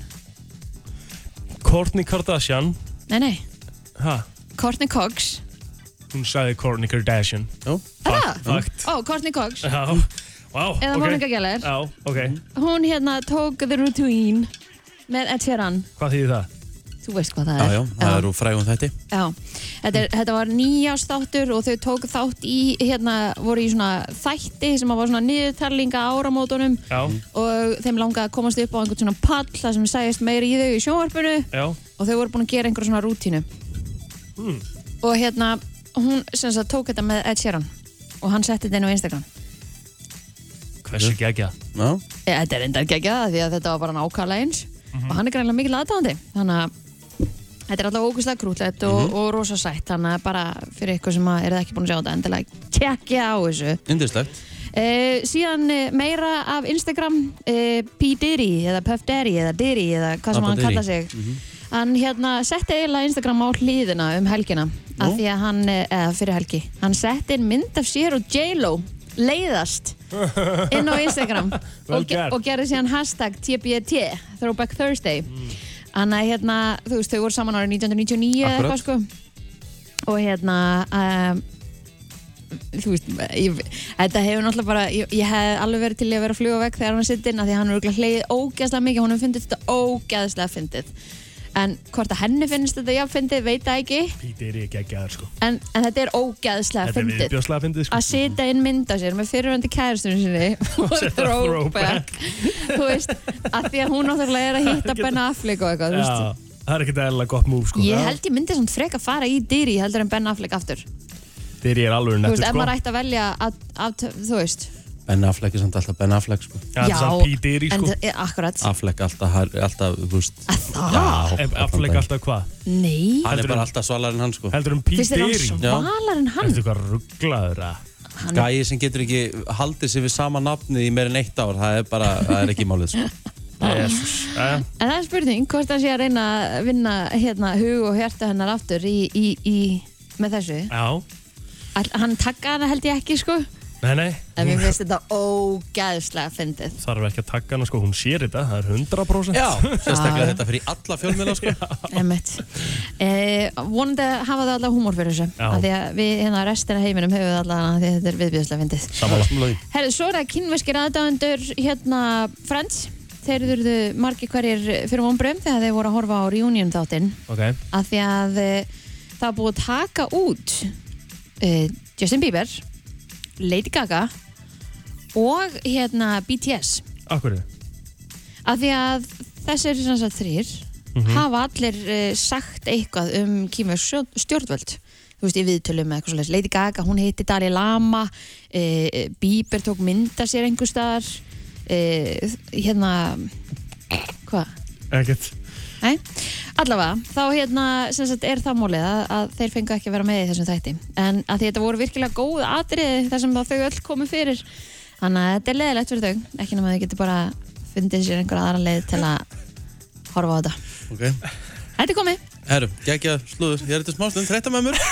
A: Kourtney Kardashian
C: Nei, nei,
A: ha,
C: Kourtney Cox
A: Hún sagði Kourtney Kardashian Já,
C: Er
A: fakt
C: Ó, Kourtney Cox
A: Já, wow,
C: Ah. Eða
A: ok.
C: Monica Geller.
A: Já, ok,
B: Mhm.
C: Hún hérna tók The Routine með Ed Sheeran
A: hvað þýðir það?
C: Þú veist hvað það
B: Já,
C: er
B: já, það er úr frægum þætti
C: Já, þetta, er, þetta var nýjast þáttur og þau tók þátt í, hérna, voru í svona þætti sem að var svona niðurtallinga á áramótunum
A: Já,
C: og þeim langaði að komast upp á einhvern svona pall þar sem sæðist meiri í þau í sjónvarpinu
A: já
C: og þau voru búin að gera einhver svona rútínu
A: hmm.
C: og hérna, hún sem sagt tók þetta með Ed Sheeran og hann setti þetta inn á Instagram
A: Hversu gegja
B: Já
C: e, Þetta er enda ekki ekki það því að þetta var bara nákvæmlega eins
B: Mhm.
C: og hann er greinlega mikil aðdáðandi þannig að þetta er alltaf ógustlega krútlegt og,
B: Mhm.
C: og rosa sætt þannig að bara fyrir ykkur sem að er ekki búin að sjá þetta endilega kekja á þessu
B: Indislegt
C: e, síðan eh, meira af Instagram e, P. Diddy eða Puff Daddy eða Diddy eða hvað sem
B: Papa
C: hann
B: Diddy. Mhm.
C: kalla sig hann hérna setti eiginlega Instagram á hliðina um helgina af því að hann, eh, eða fyrir helgi hann setti inn mynd af sér og J-Lo leiðast inn á Instagram
A: [LAUGHS] Vel
C: og, ge-
A: gert.
C: og gerði síðan hashtag TBT Throwback Thursday
A: Mm.
C: Þannig að hérna, þú veist, þau voru saman árið 1999 eða
B: Akkurat.
C: eitthvað sko og hérna um, þú veist, ég, þetta hefur náttúrulega bara, ég, ég hef alveg verið til í að vera að fljúa vekk þegar hann er sitt inn af því að hann er örugglega hlegið ógeðslega mikið, hún hefur fundið þetta ógeðslega fyndið en hvort að henni finnst þetta jafn fyndið, veit það ekki
A: Píti er ég gegjaðar sko
C: en, en þetta er ógeðslega
A: Þetta er
C: fyndið
A: viðbjóðslega fyndið sko
C: að setja inn mynd á sér með fyrirvöndi kærastunum sinni og
A: [LAUGHS] setja
C: throwback þú veist, að því að hún náttúrulega er að hitta Ben Affleck og eitthvað, þú veist
A: Já, það er ekkert eðlilega gott múf sko
C: Ég held ég myndi svona frek að fara í dýri heldur en Ben Affleck aftur
A: Þegar ég er alveg
C: Þú veist,
A: nettur
C: ef
A: sko
C: maður ætti að velja að, að, þú veist
B: Ben Affleck er samt alltaf Ben Affleck sko
A: Já, þetta er samt Píti er í
C: en
A: sko
C: það- eh, akkurat
B: Affleck alltaf, har- alltaf, þú veist
C: Það?
B: Já,
A: Ef Affleck
B: allan daginn.
A: alltaf hvað?
C: Nei,
B: Hann er
A: Heldur
B: bara
A: en-
B: alltaf svalar en hann sko
A: Heldur um Píti
C: finnst
A: er
C: þér hann
A: í
C: svalar en hann?
A: Ertu hvað rugglaður að
C: hann
B: Gæi sem getur ekki haldið sér við sama nafni í meirinn eitt ár Það er bara, það er ekki málið sko
A: Jesus Jæja.
C: En það er spurning hvort hann sé að reyna að vinna hérna, hug og hjarta hennar aftur í, í, í, með þessu
A: Já,
C: All, Hann takka hana held ég ekki sko
A: nei nei
C: En mér
A: Hún
C: finnst þetta ógæðslega fyndið
A: þarf ekki að taka hana sko Hún sér þetta, það er 100% [LAUGHS]
B: Já, sérstaklega
C: Já.
B: þetta fyrir alla fjölmiðla sko
C: Emmett eh, Vonandi hafa þau alla húmór fyrir þessu
A: Já.
C: af Því að við hérna restina heiminum höfum við alla hana Því að þetta er viðbjöðslega fyndið
B: Sammála
C: Herðu, svo er það kynverskir aðdáendur hérna Friends Þeir eru margir hverjir fyrir vonbröðum þegar þeir voru að horfa á reunion þáttinn
A: Ok,
C: af því að eh, það er búið að taka út uh, Justin Bieber Lady Gaga og hérna BTS
A: akkur
C: af því að þessir sem sagt þrýr hafa allir uh, sagt eitthvað um kýmversk stjórnvöld þú veist, í viðtölum eða eitthvað svoleiðis Lady Gaga, hún hitti Dalai Lama uh, Bieber tók mynda sér einhver staðar uh, hérna hvað?
A: Ekkert
C: Nei, allavega, þá hérna sem sagt er það mólið að, að þeir fengu ekki að vera með í þessum þætti en að því þetta voru virkilega góð atriði þar sem að þau öll komu fyrir þannig að þetta er leðilegt fyrir þau ekki nema þau getur bara fundið sér einhver aðra leið til að horfa á þetta
B: Ok
C: Þetta er komið,
B: Herru, geggja slúður, ég er þetta smástund, þreytta með mér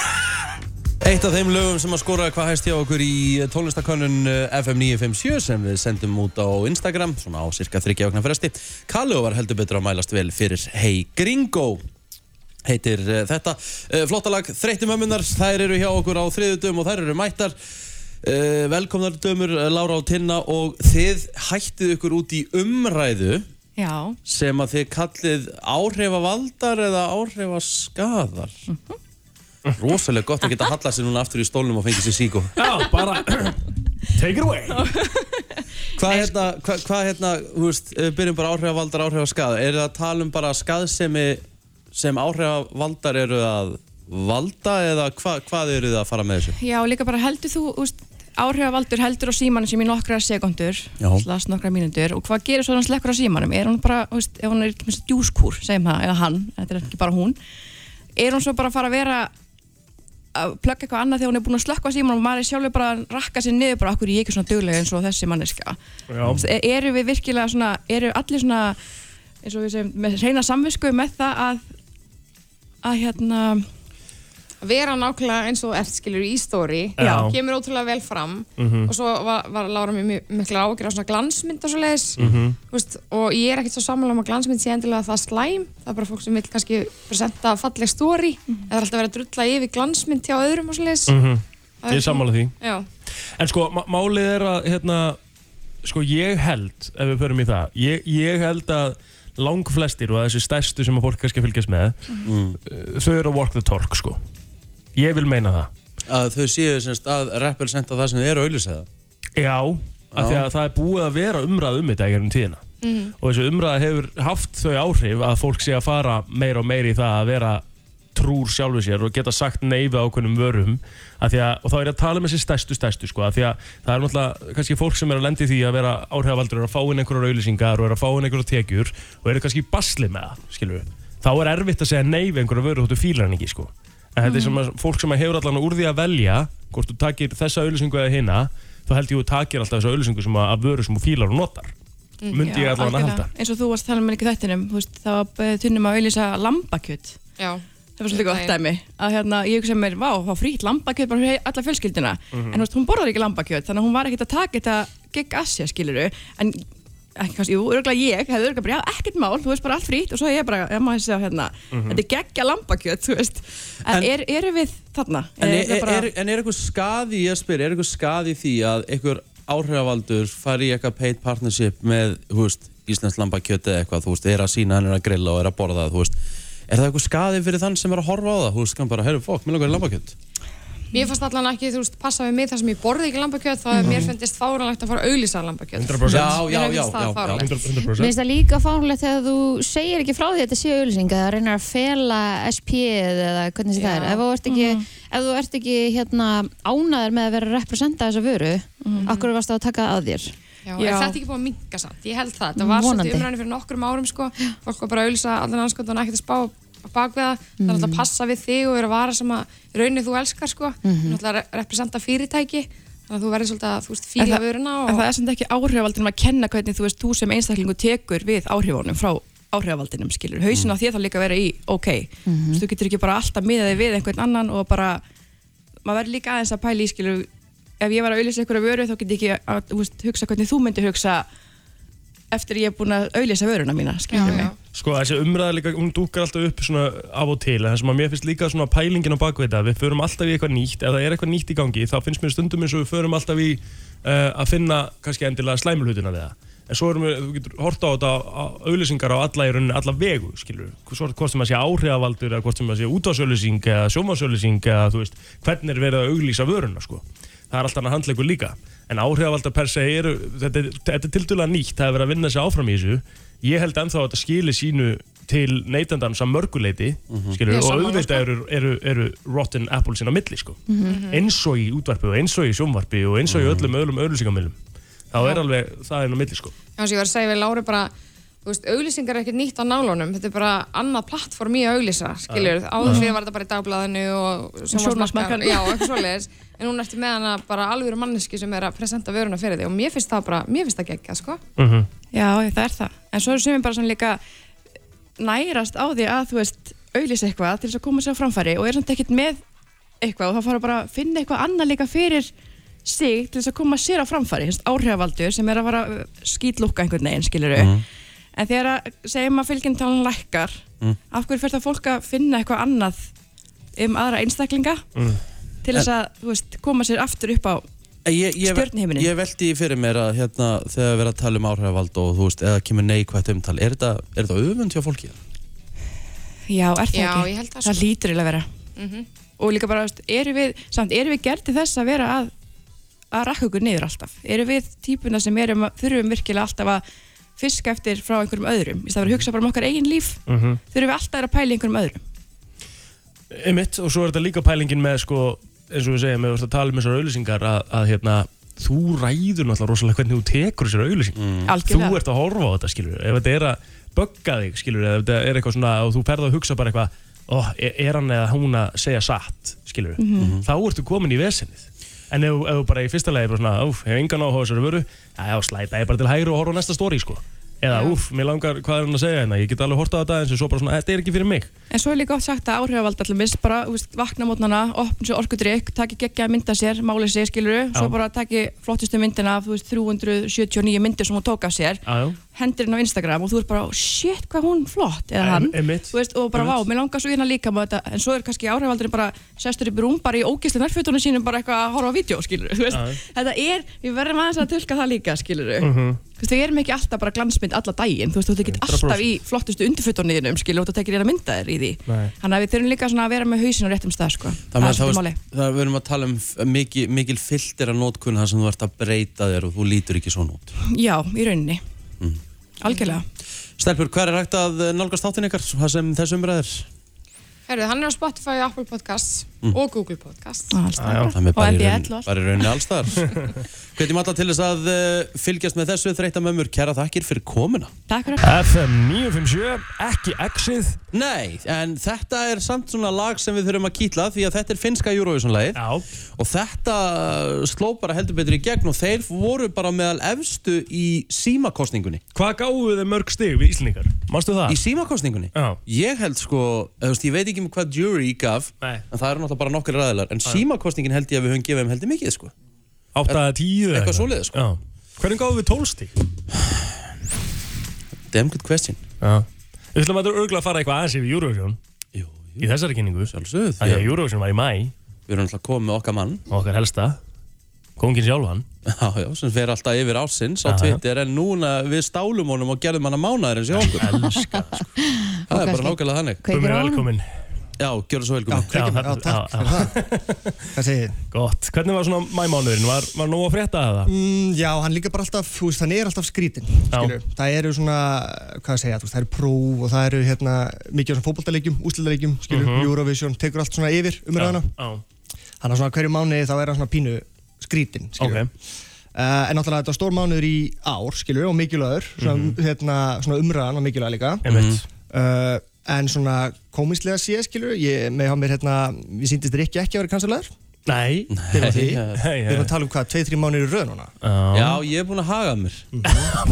B: Eitt af þeim lögum sem að skora hvað hæst hjá okkur í tónlistakönnun eh, FM 957 sem við sendum út á Instagram, svona á cirka þryggja okna fresti. Kalló var heldur betur að mælast vel fyrir Hey Gringo heitir uh, þetta. Uh, flottalag, þreytti mömmunar, þær eru hjá okkur á þriðutum og þær eru mættar. Uh, velkomnar dömur, eh, Lára og Tinna og þið hættið ykkur út í umræðu
J: Já,
B: sem að þið kallið áhrifavaldar eða áhrifaskadar rosalega gott að geta hallað sér núna aftur í stólnum og fengið sér síkó
A: Já, bara [COUGHS] Take it away
B: hvað hérna, hvað hva, hérna þú veist, ef við byrjum bara áhrifavaldar, áhrifaskadar er það að tala um bara skaðsemi sem áhrifavaldar eru að valda eða hva, hvað eru þið að fara með þessu
J: já líka bara heldur þú úst, áhrifavaldur heldur á símanum sem í nokkra sekundur
B: Já.
J: slast nokkra mínútur og hvað gerir svo hann slekkur á símanum er hún bara, úst, ef hún er ekki með djúskúr segjum það, eða hann, þetta er ekki bara hún er hún svo bara að fara að vera að plugga eitthvað annað þegar hún er búin að slökka á símanum og maður er sjálfur bara að rakka sér niður bara okkur ég er ekki svona duglega eins og þessi manneska
A: Já,
J: E- eru við virkilega svona, eru allir svona eins og við segjum, með reyna samvisku með það að að hérna
K: vera nákvæmlega eins og þú ert skilur í story
J: Já.
K: kemur ótrúlega vel fram
J: Mhm.
K: og svo var, var Lára mér mjög- miklar ágjur á svona glansmynd og svo leiðis
J: Mhm.
K: veist, og ég er ekkert svo sammála um að glansmynd sé endilega það slæm, það er bara fólk sem vil kannski presenta falleg story eða það er alltaf verið að drulla yfir glansmynd hjá öðrum og svo leiðis
A: Mhm.
K: Það er
A: Ég er
K: svona-
A: sammála því
K: Já,
A: En sko, ma- málið er að hérna, sko, ég held ef við förum í það, ég, ég held að langflestir og að þessi stærstu sem að fólk kannski fylgjast með
B: Mhm. Mm.
A: uh, þau eru að walk the talk, sko Ég vil meina það
B: Að þau séu semst að representa það sem þið eru að auðlýsa það
A: Já, af því að það er búið að vera umræð um þetta í gegnum tíðina
B: Mhm.
A: og þessi umræða hefur haft þau áhrif að fólk sé að fara meira og meira í það að vera trúr sjálfu sér og geta sagt neyfi ákveðnum vörum að að, og þá er ég að tala með sér stærstu stærstu sko, að því að það er náttúrulega kannski fólk sem er að lendi því að vera áhrifavaldur og er að fá inn einhverjar auðlýsingar og er að fá inn einhverjar tekjur og eru kannski í basli með það skilur þá er erfitt að segja neyfi einhverjar vöru þóttu fílar hann ekki sko en þetta er sem að fólk sem hefur allan úr því að velja hvort þú takir þessa auðlýsingu eða hinna þá held ég að þú takir alltaf þessa auðlýsingu sem að, að vöru sem þú fílar og notar myndi ég allavega að
J: algjörlega.
A: halda
J: eins og þú varst að tala með ekki þættinum þú veist, það var tunnum að auðlýsa lambakjöt
K: já
J: það var svolítið gott
K: Nei.
J: dæmi að hérna, ég hugsa mér, vá, það var frýtt lambakjöt bara fyrir alla fjölskyldina
K: Mhm.
J: en þú veist, hún borðar ekki lambakjöt þannig að hún var ekkert að taka þetta gegn Asja, skiluru en ekki kannski, jú, örgulega ég hefði örgulega bara, já, ekkert mál, þú veist bara allt frýtt og svo er ég bara, ég maður segja hérna
B: Mhm.
J: þetta er geggja lambakjöt, þú veist en,
B: En-
J: er, eru við þarna?
B: En
J: Er
B: er,
J: þetta
B: er,
J: bara-
B: er, en er eitthvað skaði, ég spyr, er eitthvað skaði í því að einhver áhrifavaldur fari í eitthvað paid partnership með, þú veist, Íslands lambakjöti eða eitthvað, þú veist, er að sína hann er að grilla og er að borða það, þú veist, er það eitthvað skaði fyrir þann sem er að horfa á það, þú veist, kann bara, herru, fokk, mér langar í lambakjöt.
K: mér fannst allan ekki, þú veist, passa við mig þar sem ég borði ekki lambakjöt, þá
B: Mhm.
K: mér finnst fáralegt að fara að auglýsa lambakjöt
B: 100%. Já, já,
K: Mér finnst
B: já,
K: það
B: já, já,
K: fáránlegt.
A: 100%.
C: Mér finnst það líka fárlegt þegar þú segir ekki frá því að þetta sé auðlýsing að það reynar að fela SP eða hvernig sem það er ef þú ert
K: Mhm.
C: ekki, ef þú ert ekki hérna, ánæður með að vera að representa þessa vöru akkur varst það að taka að þér
K: Mhm. Já, er þetta ekki búið að minka samt? Ég held það, það var
C: Vonandi.
K: svolítið umræðinu fyrir nokkrum árum sko, fólk var bara að auðvisa allan anskot og ekkert að spá á bakveða, það er
C: Mm.
K: alltaf að passa við þig og vera að vara sem að raunni þú elskar sko, mm
J: Mhm.
K: -hmm. náttúrulega re- representa fyrirtæki, þannig að þú verður svolítið að þú veist
J: En
K: fíla
J: það-
K: vöruna og...
J: En það er samt ekki áhrifavaldinum að kenna hvernig þú veist þú sem einstaklingu tekur við áhrifunum frá áhrifavaldinum skilur. Hauðsinn
K: Mm.
J: á þér það líka að vera í ok.
K: Mhm.
J: Mm -hmm. Þú getur ekki bara alltaf miðað þig við einhvern annan og bara maður verður líka aðeins að pæla í skilur ef ég var að auðlýsa einhverja vöru þá get ég ekki að þú veist, hugsa hvernig þú myndir hugsa eftir ég er búin að auðlýsa vöruna mína skilur mig.
A: Sko þessi umræða líka, hún dúkar alltaf upp svona af og til, en það sem að mér finnst líka svona pælingin á bakvið þetta, við förum alltaf í eitthvað nýtt ef það er eitthvað nýtt í gangi, þá finnst mér stundum eins og við förum alltaf í uh, að finna kannski endilega slæmulhutina við það en svo erum við, þú getur horta á þetta á auðlýsingar á alla í rauninni, alla vegu skilur, svo hvort sem að sé áhrifavaldur eða hvort sem að sé útásauðlýsing eða sjómasauðlýsing eða þú veist, hvernig er verið að auglýsa vöruna sko, það er alltaf hann handleikur líka en áhrifavaldar per se eru þetta, er- þetta er tildulega nýtt, það er verið að vinna sig áfram í þessu ég held ennþá að þetta skili sínu til neytandans að mörguleiti skilur,
B: Ég er
A: og
B: sammála, sko.
A: auðvitað eru, eru, eru rotten apples inn á milli sko.
B: Mhm.
A: eins og í útvarpi og eins og í sjónvarpi og eins og í öllum öðrum auðlýsingamilum þá er alveg það inn á milli sko.
K: Já, eins og ég var að segja við Lári bara, þú veist, auglýsingar er ekkert nýtt á nálunum, þetta er bara annað plattform í að auglýsa, skilur,
J: Já.
K: áður
J: Já.
K: fyrir var þetta bara í dagbladinu og
J: Sjónvarpsmarkaðnum.
K: Já, eitthvað svoleiðis, en hún ertu með hana bara alvöru manneski sem er að presenta vöruna fyrir þig og mér finnst það bara, mér finnst það geggja, sko.
J: Já, já, það er það. En svo eru sumir bara svona líka nærast á því að þú veist auðlýsa eitthvað til þess að koma sér á framfæri og er samt ekkert með eitthvað og þá fara bara að finna eitthvað annað líka fyrir sig til þess að koma sér á framfæri þess áhrifavaldur sem er að fara að skýtlúka einhvern veginn, skiluru
B: Mhm.
J: en þegar að segjum að fylgjentalun lækkar
B: Mm.
J: af hverju fer það fólk að finna eitthvað annað um aðra einstaklinga til þess að, þú veist, koma sér aftur upp á
B: Ég, ég,
J: Stjörnuhimininn.
B: ég veldi fyrir mér að hérna, þegar við erum að tala um áhrifavald og þú veist, eða kemur neikvætt umtal, er þetta, er þetta öfund hjá fólki?
J: Já, er það
K: Já,
J: ekki?
K: ég held það
J: það
K: sko.
J: lítur eiginlega að vera
K: Mhm.
J: og líka bara, veist, erum við, samt erum við gerð til þess að vera að, að rakka okkur niður alltaf erum við típuna sem erum, að- þurfum virkilega alltaf að fiska eftir frá einhverjum öðrum í stað að hugsa bara um okkar eigin líf þurfum við alltaf að vera að pæla í einhverjum öðrum
A: Einmitt, og svo er þetta líka pælingin með sko, eins og við segjum, við vorum að tala um þessar auðlýsingar að, að hérna, þú ræður náttúrulega rosalega hvernig þú tekur þessar auðlýsing
J: Algjörlega.
A: þú ert að horfa á þetta skilur ef þetta er að bögga þig skilur ef þetta er eitthvað svona og þú ferð að hugsa bara eitthvað ó, er er hann eða hún að segja satt skilur,
B: Mhm.
A: þá ertu komin í vesenið en ef, ef þú bara í fyrsta lagi bara svona, óf, hef engan áhuga á þessari vöru já, já, slæta ég bara til hægri og horfa á næsta stóri sko Eða úff, mér langar, hvað er hann að segja hérna Ég get alveg hortað á þetta eins og svo bara svona, þetta er ekki fyrir mig
J: En svo er líka oft sagt að áhrifavald allir mis, bara þú veist, vakna mótnana, opna sér orkudrykk, taki geggja að mynda sér, máli sér, skiluru, svo
A: Já.
J: bara taki flottustu myndina af þú veist, 379 myndir sem hún tók af sér,
A: Aðjó
J: hendir henn á Instagram og þú ert bara, "Oh, shit, hvað hún flott, eða hann,
A: Emitt
J: þú veist, og bara, vá, mér langar svo hérna líka með þetta, en svo er kannski áhrifavaldurinn bara, sestur upp í rúm, bara í ógisli nærfötunum sínum, bara eitthvað að horfa á vídeo, skiluru, þú veist,
A: Já.
J: þetta er, við verðum aðeins að tölka það líka, skiluru.
A: Mhm.
J: Þú veist, við erum ekki alltaf bara glansmynd alla daginn, þú veist, þú ert ekki
A: 100%.
J: alltaf í flottustu undirfötunniðinum, skilur, og þú tekir þér að mynda þér í því.
B: Nei.
J: Þannig að við þurfum líka svona að vera með hausin á réttum stað, sko.
B: Það
J: er
B: er
J: svolítið
B: máli. Það við erum að tala um f- mikil, mikil filter að nótkunna þar sem þú ert að breyta þér og þú lítur ekki svona út.
J: Já, í rauninni. Algjörlega.
B: Stelpur, hver er hægt að eh, nálgast þáttinn ykkar það sem þessum umræðir? Mhm.
K: Herðu, hann er á Spotify, Apple Podcasts og Google Podcasts.
B: Alstaðar. Mm. Það er bara í
K: NBL
B: raun-
K: og allt.
B: bara í rauninni allstar.
J: [LAUGHS]
B: Hvetjum alla til þess að eh, fylgjast með þessu þreytta mömmur. Kæra þakkir fyrir komuna.
J: Takk fyrir.
A: FM 957, ekki exið.
B: Nei, en þetta er samt svona lag sem við þurfum að kýtla því að þetta er finnska Eurovision-lagið. Já. Og þetta sló bara heldur betur í gegn og þeir voru bara meðal efstu í símakostningunni.
A: Hvað gáðu þið mörg stig við Íslendingar? Mástu það?
B: Í símakostningunni?
A: Já.
B: Ég held sko, eða, þú veist, ég veit ekki um hvað jury gaf, Nei. en það eru náttúrulega bara nokkri ræðilar, en símakostningin held ég að við höfum gefið um heldur mikið, sko.
A: 8 að 10
B: Eitthvað svoleiðið, sko.
A: Já. Hvernig gáðu við 12 stig?
B: Damn good question.
A: Já. Við ætlum að þetta er örgulega að fara eitthvað aðeins yfir Eurovision.
B: Jú,
A: jú. Í þessari kynningu.
B: Sjálfsögð.
A: Það er Eurovision var í mæ.
B: Við erum alltaf komið með okkar mann.
A: Okkar helsta. Kongin sjálfan.
B: Já, já, sem fer alltaf yfir ásins á
A: Já, já.
B: Twitter, en núna við stálum honum og gerðum hann að mánaðurins hjá okkur.
A: Elska,
B: sko. Það er bara
L: kannski
B: nákvæmlega þannig.
L: kveikir Bummi, á honum. velkomin.
B: Já, gjörðu svo velkomin.
L: Já, já, takk fyrir það.
A: [LAUGHS]
L: Hvað segir þið?
A: Gott. Hvernig var svona mæmánuðurinn? Var, var nóg að frétta það?
L: Mm, já, hann líka bara alltaf, þú veist, hann er alltaf skrítin skilur. Það eru svona, hvað að segja, þú veist, það eru próf og það eru hérna mikið á svona fótboltaleikjum, úslitaleikjum, skilur,
A: Mhm.
L: Eurovision, tekur allt svona yfir umræðana
A: Já,
L: Þannig að svona hverju mánuði þá er hann svona pínu skrítin, skilur
A: Ok.
L: Uh, en náttúrulega þetta var stór mánuður í ár, skilur, og mikilvægur, svona, hérna, svona umræðan og mikilvæg líka.
A: Mhm. Einmitt.
L: Uh, en svona komislega sé, skilur, ég með hann mér hérna, ég síndist þér ekki ekki að vera kansalæður.
A: Nei.
L: Þeir eru því.
B: Nei,
L: Við erum að tala um hvað, 2-3 mánuður í raun núna.
B: Já, ég er búin að haga mér.
A: Mhm.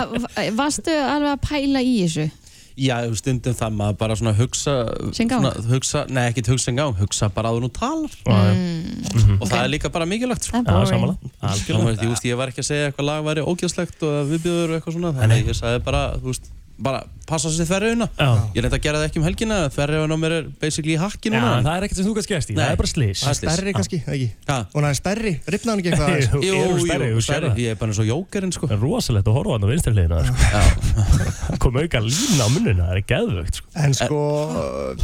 C: Að- Varstu alveg að pæla í þessu?
B: Já, stundum það maður bara svona hugsa...
C: Sinn gang.
B: Svona, hugsa, nei, ekkert hugsa en gang, hugsa bara að þú nú talar.
A: Mhm.
C: Mm.
B: Og það er líka bara mikilvægt. sko.
C: Það er boring. Já, sammála.
B: Þú veist, ég, veist, ég var ekki að segja eitthvað lag væri ógjöðslegt og að viðbjöður og eitthvað svona. Þannig að ég sagði bara, þú veist, bara passa sér þverjuna. Ég reyndi að gera það ekki um helgina, þverjuna á mér er basically í hakki
A: Já,
B: núna.
A: það er ekkert sem þú kannst gerst í, það
B: Nei.
A: er bara slís.
L: Það er stærri kannski, eða ekki?
B: Ha?
L: Og hann er stærri, ripna hann ekki
A: [LAUGHS] Jú,
L: eitthvað?
A: eru stærri, þú sérð það.
B: Ég er bara eins og jókerinn sko
A: Það er rosalegt að horfa hann á vinstri hliðina
B: sko.
A: [LAUGHS] Kom auka lína á munnuna, það er geðvögt sko.
L: En sko,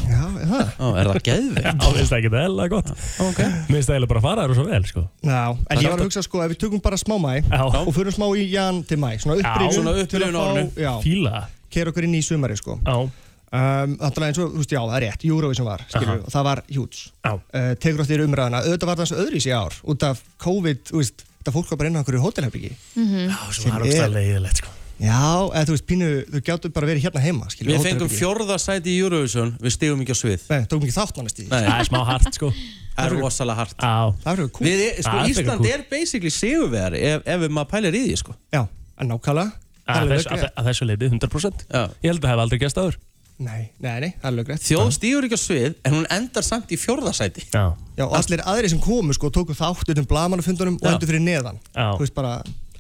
L: já, er það?
B: Ó, er það
A: Já,
B: geðveikt?
A: minnst það ekki það hella gott okay. Minnst það hella bara að fara þér og svo vel sko.
L: Já, en
A: Það
L: ég
A: er
L: var að hugsa sko, ef við tökum bara smá mæ og förum smá í jan til mæ, svona upprifjun
A: svona
L: til að
A: upprifjun á
L: fá-
A: árinu.
L: já,
A: Fíla.
L: Keyra okkur inn í sumari sko
A: um,
L: Þannig eins og, þú veist, já, það er rétt, Eurovision var, skilur,
A: Aha.
L: og það var hjúts
A: uh,
L: Tekur á þér umræðana, auðvitað var það svo öðris í ár út af COVID, þú veist, þetta fólk var bara inn á einhverju hótelherbyggi
A: Það er ógstæðlega leiðilegt sko.
L: Já, eða þú veist, pínu, þú gætu bara verið hérna heima, skilur,
B: Við fengum
L: hótelherbergi.
B: fjórða sæti í Eurovision Við stigum ekki á svið
L: Nei, tókum ekki þátt nánast í því.
A: Það er smá hart sko
B: Það er rosalega hart
A: Á.
L: Það er
B: Við,
A: Það er
B: sko,
A: frekar
B: Ísland
A: kúl.
B: er basically sigurvegari ef, ef við maður pælir í því sko.
L: Já, en nákvæmlega Það
A: Að
L: er
A: þess-
L: alveg
A: að- að þessu leiði 100%
B: Já.
A: Ég held að það hef aldrei gerst áður
L: Nei, nei, nei, það er lögrið
B: Þjóð stígur ekki á svið en hún endar samt í fjórða sæti
A: Já,
L: Já, og allir aðri sem komu sko tóku þátt utan blamanafundunum og
B: Já.
L: endur fyrir neðan
A: Já.
L: Þú veist bara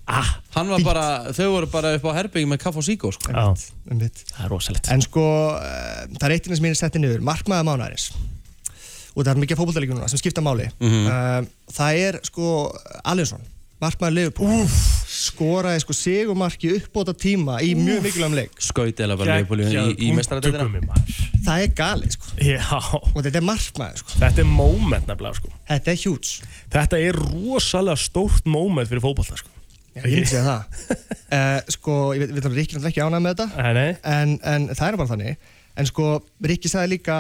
A: ah,
B: Hann var bara, þau voru bara upp á herbyggi með kaff og síkó sko.
L: um mitt
A: Það er rosalegt
L: En sko, eh, það er eitt innan sem ég er settið niður Markmaða mánaðarins Og það er mikið fótbollalíkjum núna sem skipta máli
B: Mhm.
L: um, Það er sko Alinsson Markmaður Leifupúl Skoraði sko segumarki uppbóta tíma í mjög mikilvægum leik
B: Skaut eða bara leifbúli í, í mestaradeldina
L: Það er galið sko
A: Já Og
L: þetta er markmaður sko
A: Þetta er moment nefnilega sko.
L: Þetta er hjúts
A: Þetta er rosalega stórt moment fyrir fótballta sko.
L: Já, ég myndi segja
A: [LAUGHS]
L: það. Uh, sko, ég veit, veit að Rikki náttúrulega ekki ánægð með þetta.
A: Nei, nei.
L: En, en það er bara þannig. En sko, Rikki sagði líka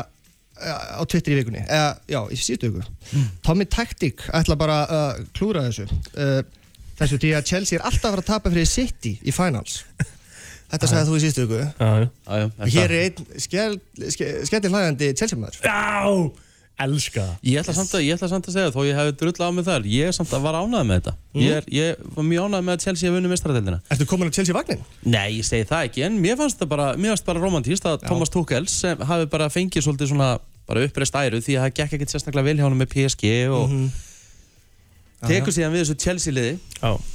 L: uh, á Twitter í vikunni, eða, já, í síðustu viku.
A: Mm.
L: Tommy Tactic ætla bara að uh, klúra þessu. Uh, þessu því að Chelsea er alltaf að fara að tapa fyrir City í finals. Þetta sagði þú í síðustu viku.
A: Já,
B: já,
L: Hér er einn skell- ske- skellir hlægandi Chelsea maður.
A: Já, elska það
B: Ég ætla, samt að, ég ætla samt að segja þó ég hefði drull á mig þar Ég samt að var ánægð með þetta
L: Mm.
B: ég, er, ég var mjög ánægð með að Chelsea að vinna mestraratildina
L: Ertu komin á Chelsea vagnin?
B: Nei, ég segi það ekki En mér fannst þetta bara, mér fannst bara romantíst að Thomas Tuchel sem hafi bara fengið svolítið svona bara uppreist æru því að það gekk ekkert sérstaklega vel hjá honum með PSG og
K: Mhm.
J: Mhm.
B: tekur síðan við þessu Chelsea liði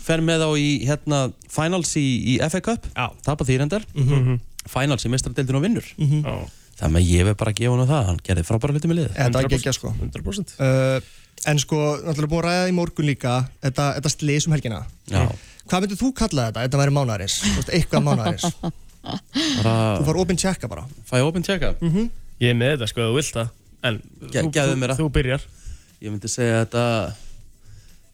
B: fer með þá í hérna, finals í, í FA Cup tapar því reyndar
A: Mhm.
B: finals í mestraratildin og vinnur
L: Mhm.
A: Já.
B: þannig að ég verð bara að gefa honum það hann gerði frábæra hluti með liðið
L: Þetta er ekki sko
A: 100%
L: En sko, náttúrulega búið að ræða í morgun líka Þetta, þetta slis um helgina
B: Já.
L: Hvað myndir þú kalla þetta? Þetta væri mánaris Eitthvað mánaris Þú
B: bara
L: far opinn tjekka bara
B: fæ opinn tjekka mm
L: -hmm.
A: Ég er með þetta sko, þú vilt það En þú-
B: gefðu
A: þú-
B: mér það.
A: Þú byrjar
B: Ég myndi segja þetta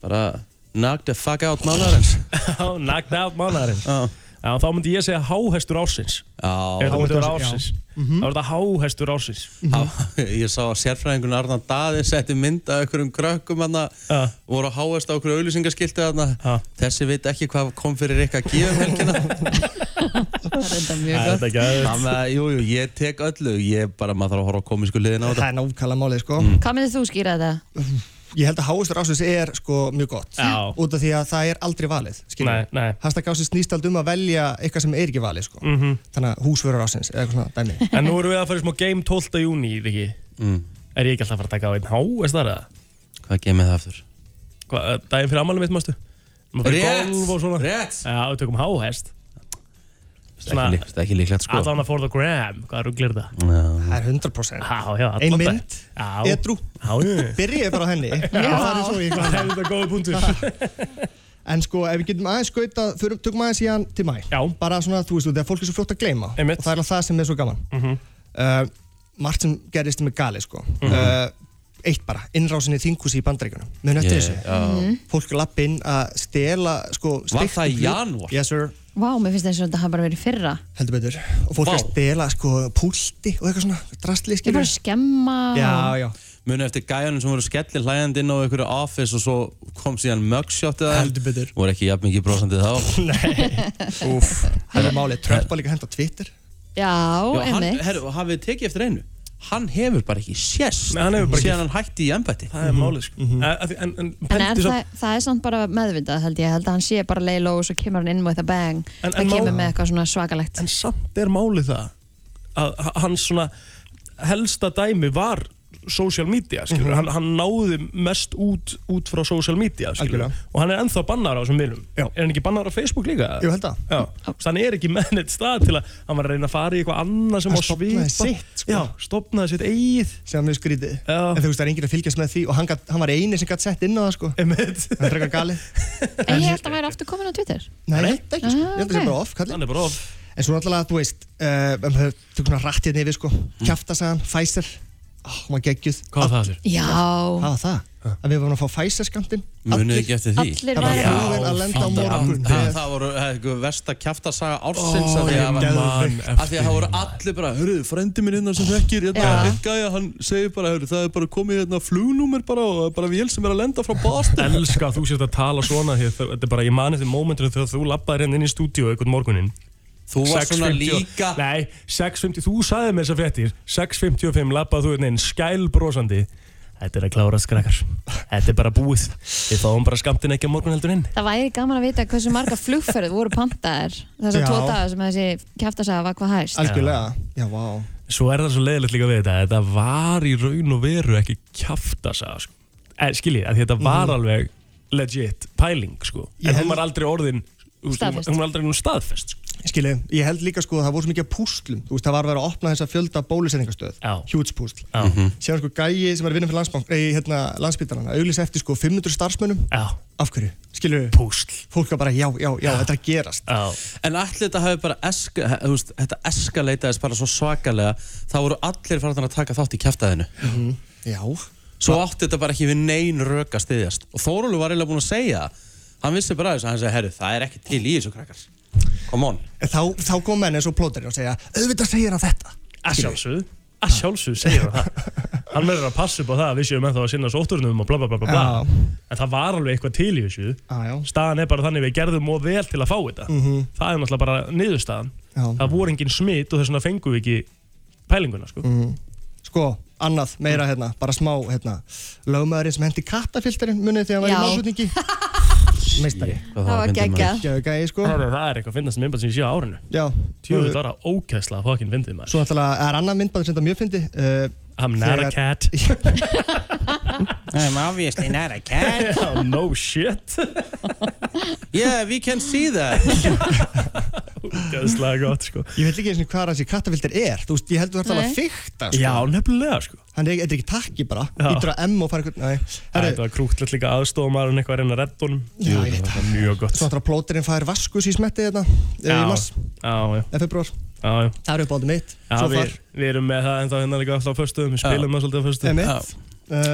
B: bara knock the fuck out málarins
A: [LAUGHS] Já, knocked out mánaðarins Já, þá myndi ég segja háhestur ársins
B: Já
A: Ef það myndi vera ársins Þá er þetta háhestur ársins
B: Mhm. [LAUGHS] Ég sá að sérfræðingun Arnar Daði setti mynd af einhverjum krökkum hana voru að háast á okkur auðlýsingaskilti hana þessi veit ekki hvað kom fyrir ykkar að gefa um helgina
C: mjög gott.
B: Þannig að jú, jú, ég tek öllu ég bara, maður þarf að horfa á komísku liðin á
L: Það
B: þetta Mm,
L: er nákvæmlega málið sko
C: Hvað myndir þú skýra þetta?
L: Ég held að háistur ásins er sko mjög gott
A: Já.
L: Út af því að það er aldrei valið
A: [LAUGHS] Nei, nei
L: Hashtag ásins snýst aldrei um að velja eitthvað sem er ekki valið sko
A: Mhm.
L: Þannig að húsvörur ásins eða eitthvað svona
A: [LAUGHS]
L: dæmi
A: En nú erum við að fara í smá game 12. júni, ekki? Mm. Er ég ekki alltaf að fara að taka á einn há, er það það?
B: Hvað game er það aftur?
A: Hva, daginn fyrir ammálum mitt, mástu?
B: Rétt,
A: Rétt! Já, við tökum háhest.
B: Ekki lík- þetta er ekki líklegt sko
A: Allan að for the gram, hvað rugglir það?
B: Já.
L: Það er 100%
A: Já, já, allan
L: Ein
A: dag.
L: mynd,
A: Já.
L: edrú.
A: Já, já.
L: Byrjið bara á henni Já. Það er svo ég
A: [LAUGHS] Það er þetta góði punktur.
L: [LAUGHS] En sko, ef við getum aðeins skauta, förum, tökum aðeins í hann til mæ. Já. Bara svona, þú veist, þú, þegar fólk er svo fljótt að gleyma. Einmitt. Og það er alveg það sem er svo gaman. Mm uh, margt sem gerist með gali, sko.
B: Mhm.
L: uh, eitt bara, innrásinni þinghúsi í bandaríkunum. Mjög nöttu
B: Ég-
L: þessu.
B: já. Mhm.
L: Fólk lapp inn að stela, sko,
B: Var
L: steiktum
B: það í
L: hlut-
B: janúar?
L: Yes, sir.
C: Vá, mér finnst eins og þetta hafa bara verið í fyrra
L: Heldur betur. Og fólk að stela, sko, púlti og eitthvað svona, drastli,
C: Ég er
L: skilur.
C: bara að skemma Ah.
L: já.
B: Muni eftir gæjanum sem voru skellir hlæjandi inn á einhverju office og svo kom síðan mugshot eða
L: Heldur betur.
B: Voru ekki jafn mikið brosandi
L: [LAUGHS]
B: þá
L: Úff. Það er málið. Trump var líka hent á Twitter.
C: Já,
B: Já, hann,
C: einmitt
B: herru, og hafið þið tekið eftir einu Hann hefur bara ekki sérst
A: Nei, hann hefur bara ekki-
B: Síðan hann hætti í embætti Mhm.
A: Það er málið sko mm -hmm. En, en,
C: En er það, það er samt bara meðvitað held ég, ég held að hann sé bara leið lóð og svo kemur hann inn with a bang
A: En-
C: það
A: en má-
C: kemur með eitthvað svona svakalegt
A: En samt er málið það að h- hans svona helsta dæmi var social media skilur,
L: Mhm.
A: hann, hann náði mest út, út frá social media skilur,
L: Algjörlega.
A: og hann er ennþá bannar á þessum miðlum er hann ekki bannar á Facebook líka?
L: Jú, held að.
A: Já, þannig hann er ekki með neitt stað til að hann var að reyna að fara í eitthvað annað sem
L: Hann
A: á svipa
L: stofnaði sitt, sko.
A: Já, stopnaði sitt eigið
L: sem er mjög skrítið en þú veist það er enginn að fylgjast með því og hann, gat, hann var eini sem gætt sett inn á það sko
A: Einmitt.
L: það er frekar gali
C: En ég held að hann væri aftur komin á Twitter
L: Nei, ég held ekki sko. ég held að það sé bara off kallið
A: hann er bara off
L: en svo náttúrulega þú veist uh, um, þú svona rætt hérna yfir sko
A: Mm.
L: kjaftasagan Pfizer oh, maður geggjuð
B: Hvað var það þér?
C: Já
L: hvað var það að við varum að fá Pfizer skamtinn
B: Munið ekki eftir því
L: allir væru búin að lenda á morgun
B: Það, það voru eitthvað versta kjaftasaga ársins
A: Ó,
B: af því
A: ég
B: að
A: man
B: var-
A: eftir
B: af því að það voru allir bara Hörruðu, frendi minn hérna sem þekkir hérna
A: Já.
B: einn gæja, hann segir bara hörru, það er bara komið hérna flugnúmer bara og það er bara vél sem er að lenda frá Boston
A: elska að þú sést að tala svona hér, það- þetta er bara, ég mani þetta mómentunum þegar þú lappaði hérna inn í stúdíu einhvern morguninn
B: Þú varst svona
A: 6.50
B: líka-
A: Nei, 6.50, þú sagði mér þessar fréttir 6.55 lappaði þú hérna inn skælbrósandi Þetta er að klára skrakkar Þetta er bara búið Við fáum bara skamtinn ekki á morgun heldur inn
C: Það væri gaman að vita hversu marga flugferð voru pantaðar þessar
A: Já.
C: tvo dagar sem þessi kjaftasaga var hvað hæst
A: Algjörlega.
L: já, vá
A: Svo er það svo leiðilegt líka við þetta Þetta var í raun og veru ekki kjafta sko. eh, Skiljið, af því þetta var
L: Mhm.
A: alveg legit pæling sko. En hún var aldrei orðin þú veist, Hún
L: Staðfest.
A: var- hún var aldrei nú staðfest sko.
L: skilu ég held líka sko að það voru svo mikið af púslum þú veist það var verið að opna þessa fjölda bólusetningastöð huge púsl
A: Mhm.
L: síðan sko gæi sem er að vinna fyrir landsbank ei, hérna, landsbytarnana, auglýsa eftir sko 500 starfsmönnum
A: já.
L: af hverju, skilur við
A: púsl,
L: fólk var bara já, já, já, þetta er að gerast
B: En allir þetta hafi bara eska, he- þú veist, þetta eskaleitaðist bara svo svakalega það voru allir farin að taka þátt í kjæftæðinu
L: Mhm. Já
B: Svo átti þetta bara ekki við neyn rök að styðjast og Þórólu var eiginlega búinn að segja það. hann vissi bara þess að hann segi, herru, það er ekki til í þessu krakkar Come on
L: En þá, þá kom menn eins og plóterinn og segja auðvitað segir hann þetta
A: Að sjálfsögðu, að sjálfsögðu segir
L: [LAUGHS]
A: hann það Hann verður að passa upp á það að við séum ennþá að sinna sótturnum og bla bla bla bla bla En það var alveg eitthvað til í þessu
L: já.
A: Staðan er bara þannig við gerðum og vel til að fá þetta
L: Mhm.
A: Það er náttúrulega bara niðurstaðan
L: Já.
A: Það voru engin smitt og þess vegna fengum við ekki pælinguna sko.
L: mm. sko, annað meira hérna, bara smá hérna, lögmaðurinn sem hendi kattafilterinn munið þegar hann var í
C: Já.
L: málsutningi meistari
C: það var geggjað.
L: gæi sko
A: Herru, það er eitthvað að finna sem innbæð sem ég sé á árinu
L: Já
A: Tjóðið var það ókæsla að fokkin fyndið maður
L: Svo náttúrulega er annað myndband sem þetta mjög fyndi uh,
A: I'm not a
L: [LAUGHS]
A: cat
B: I'm obviously not a cat
A: [LAUGHS] oh, No shit
B: [LAUGHS] Yeah, we can see that
A: Gæðslega gott sko
L: Ég veit ekki eins og hvað þessi kattafilter er Þú veist, ég held þú þarf alveg
A: Nei.
L: að fykta sko.
A: Já, nefnilega sko
L: Hann er, þetta er ekki takki bara
A: Já.
L: Ítur að M og fara eitthvað Nei, herru,
A: Þetta var krútlegt líka aðstofumar en eitthvað að reyna að redda honum
L: Já, ég veit
A: það var Mjög gott
L: svo náttúrulega plóterinn fær vaskus í hérna. smetti þetta
A: Já,
L: Í mars,
A: Já, já
L: eða februar
A: Já, já.
L: Það eru upp áldum mitt
A: Já,
L: Svo
A: við,
L: far
A: við erum með það ennþá hérna líka alltaf á föstuðum, við spilum það svolítið á föstuðum
L: Emitt uh,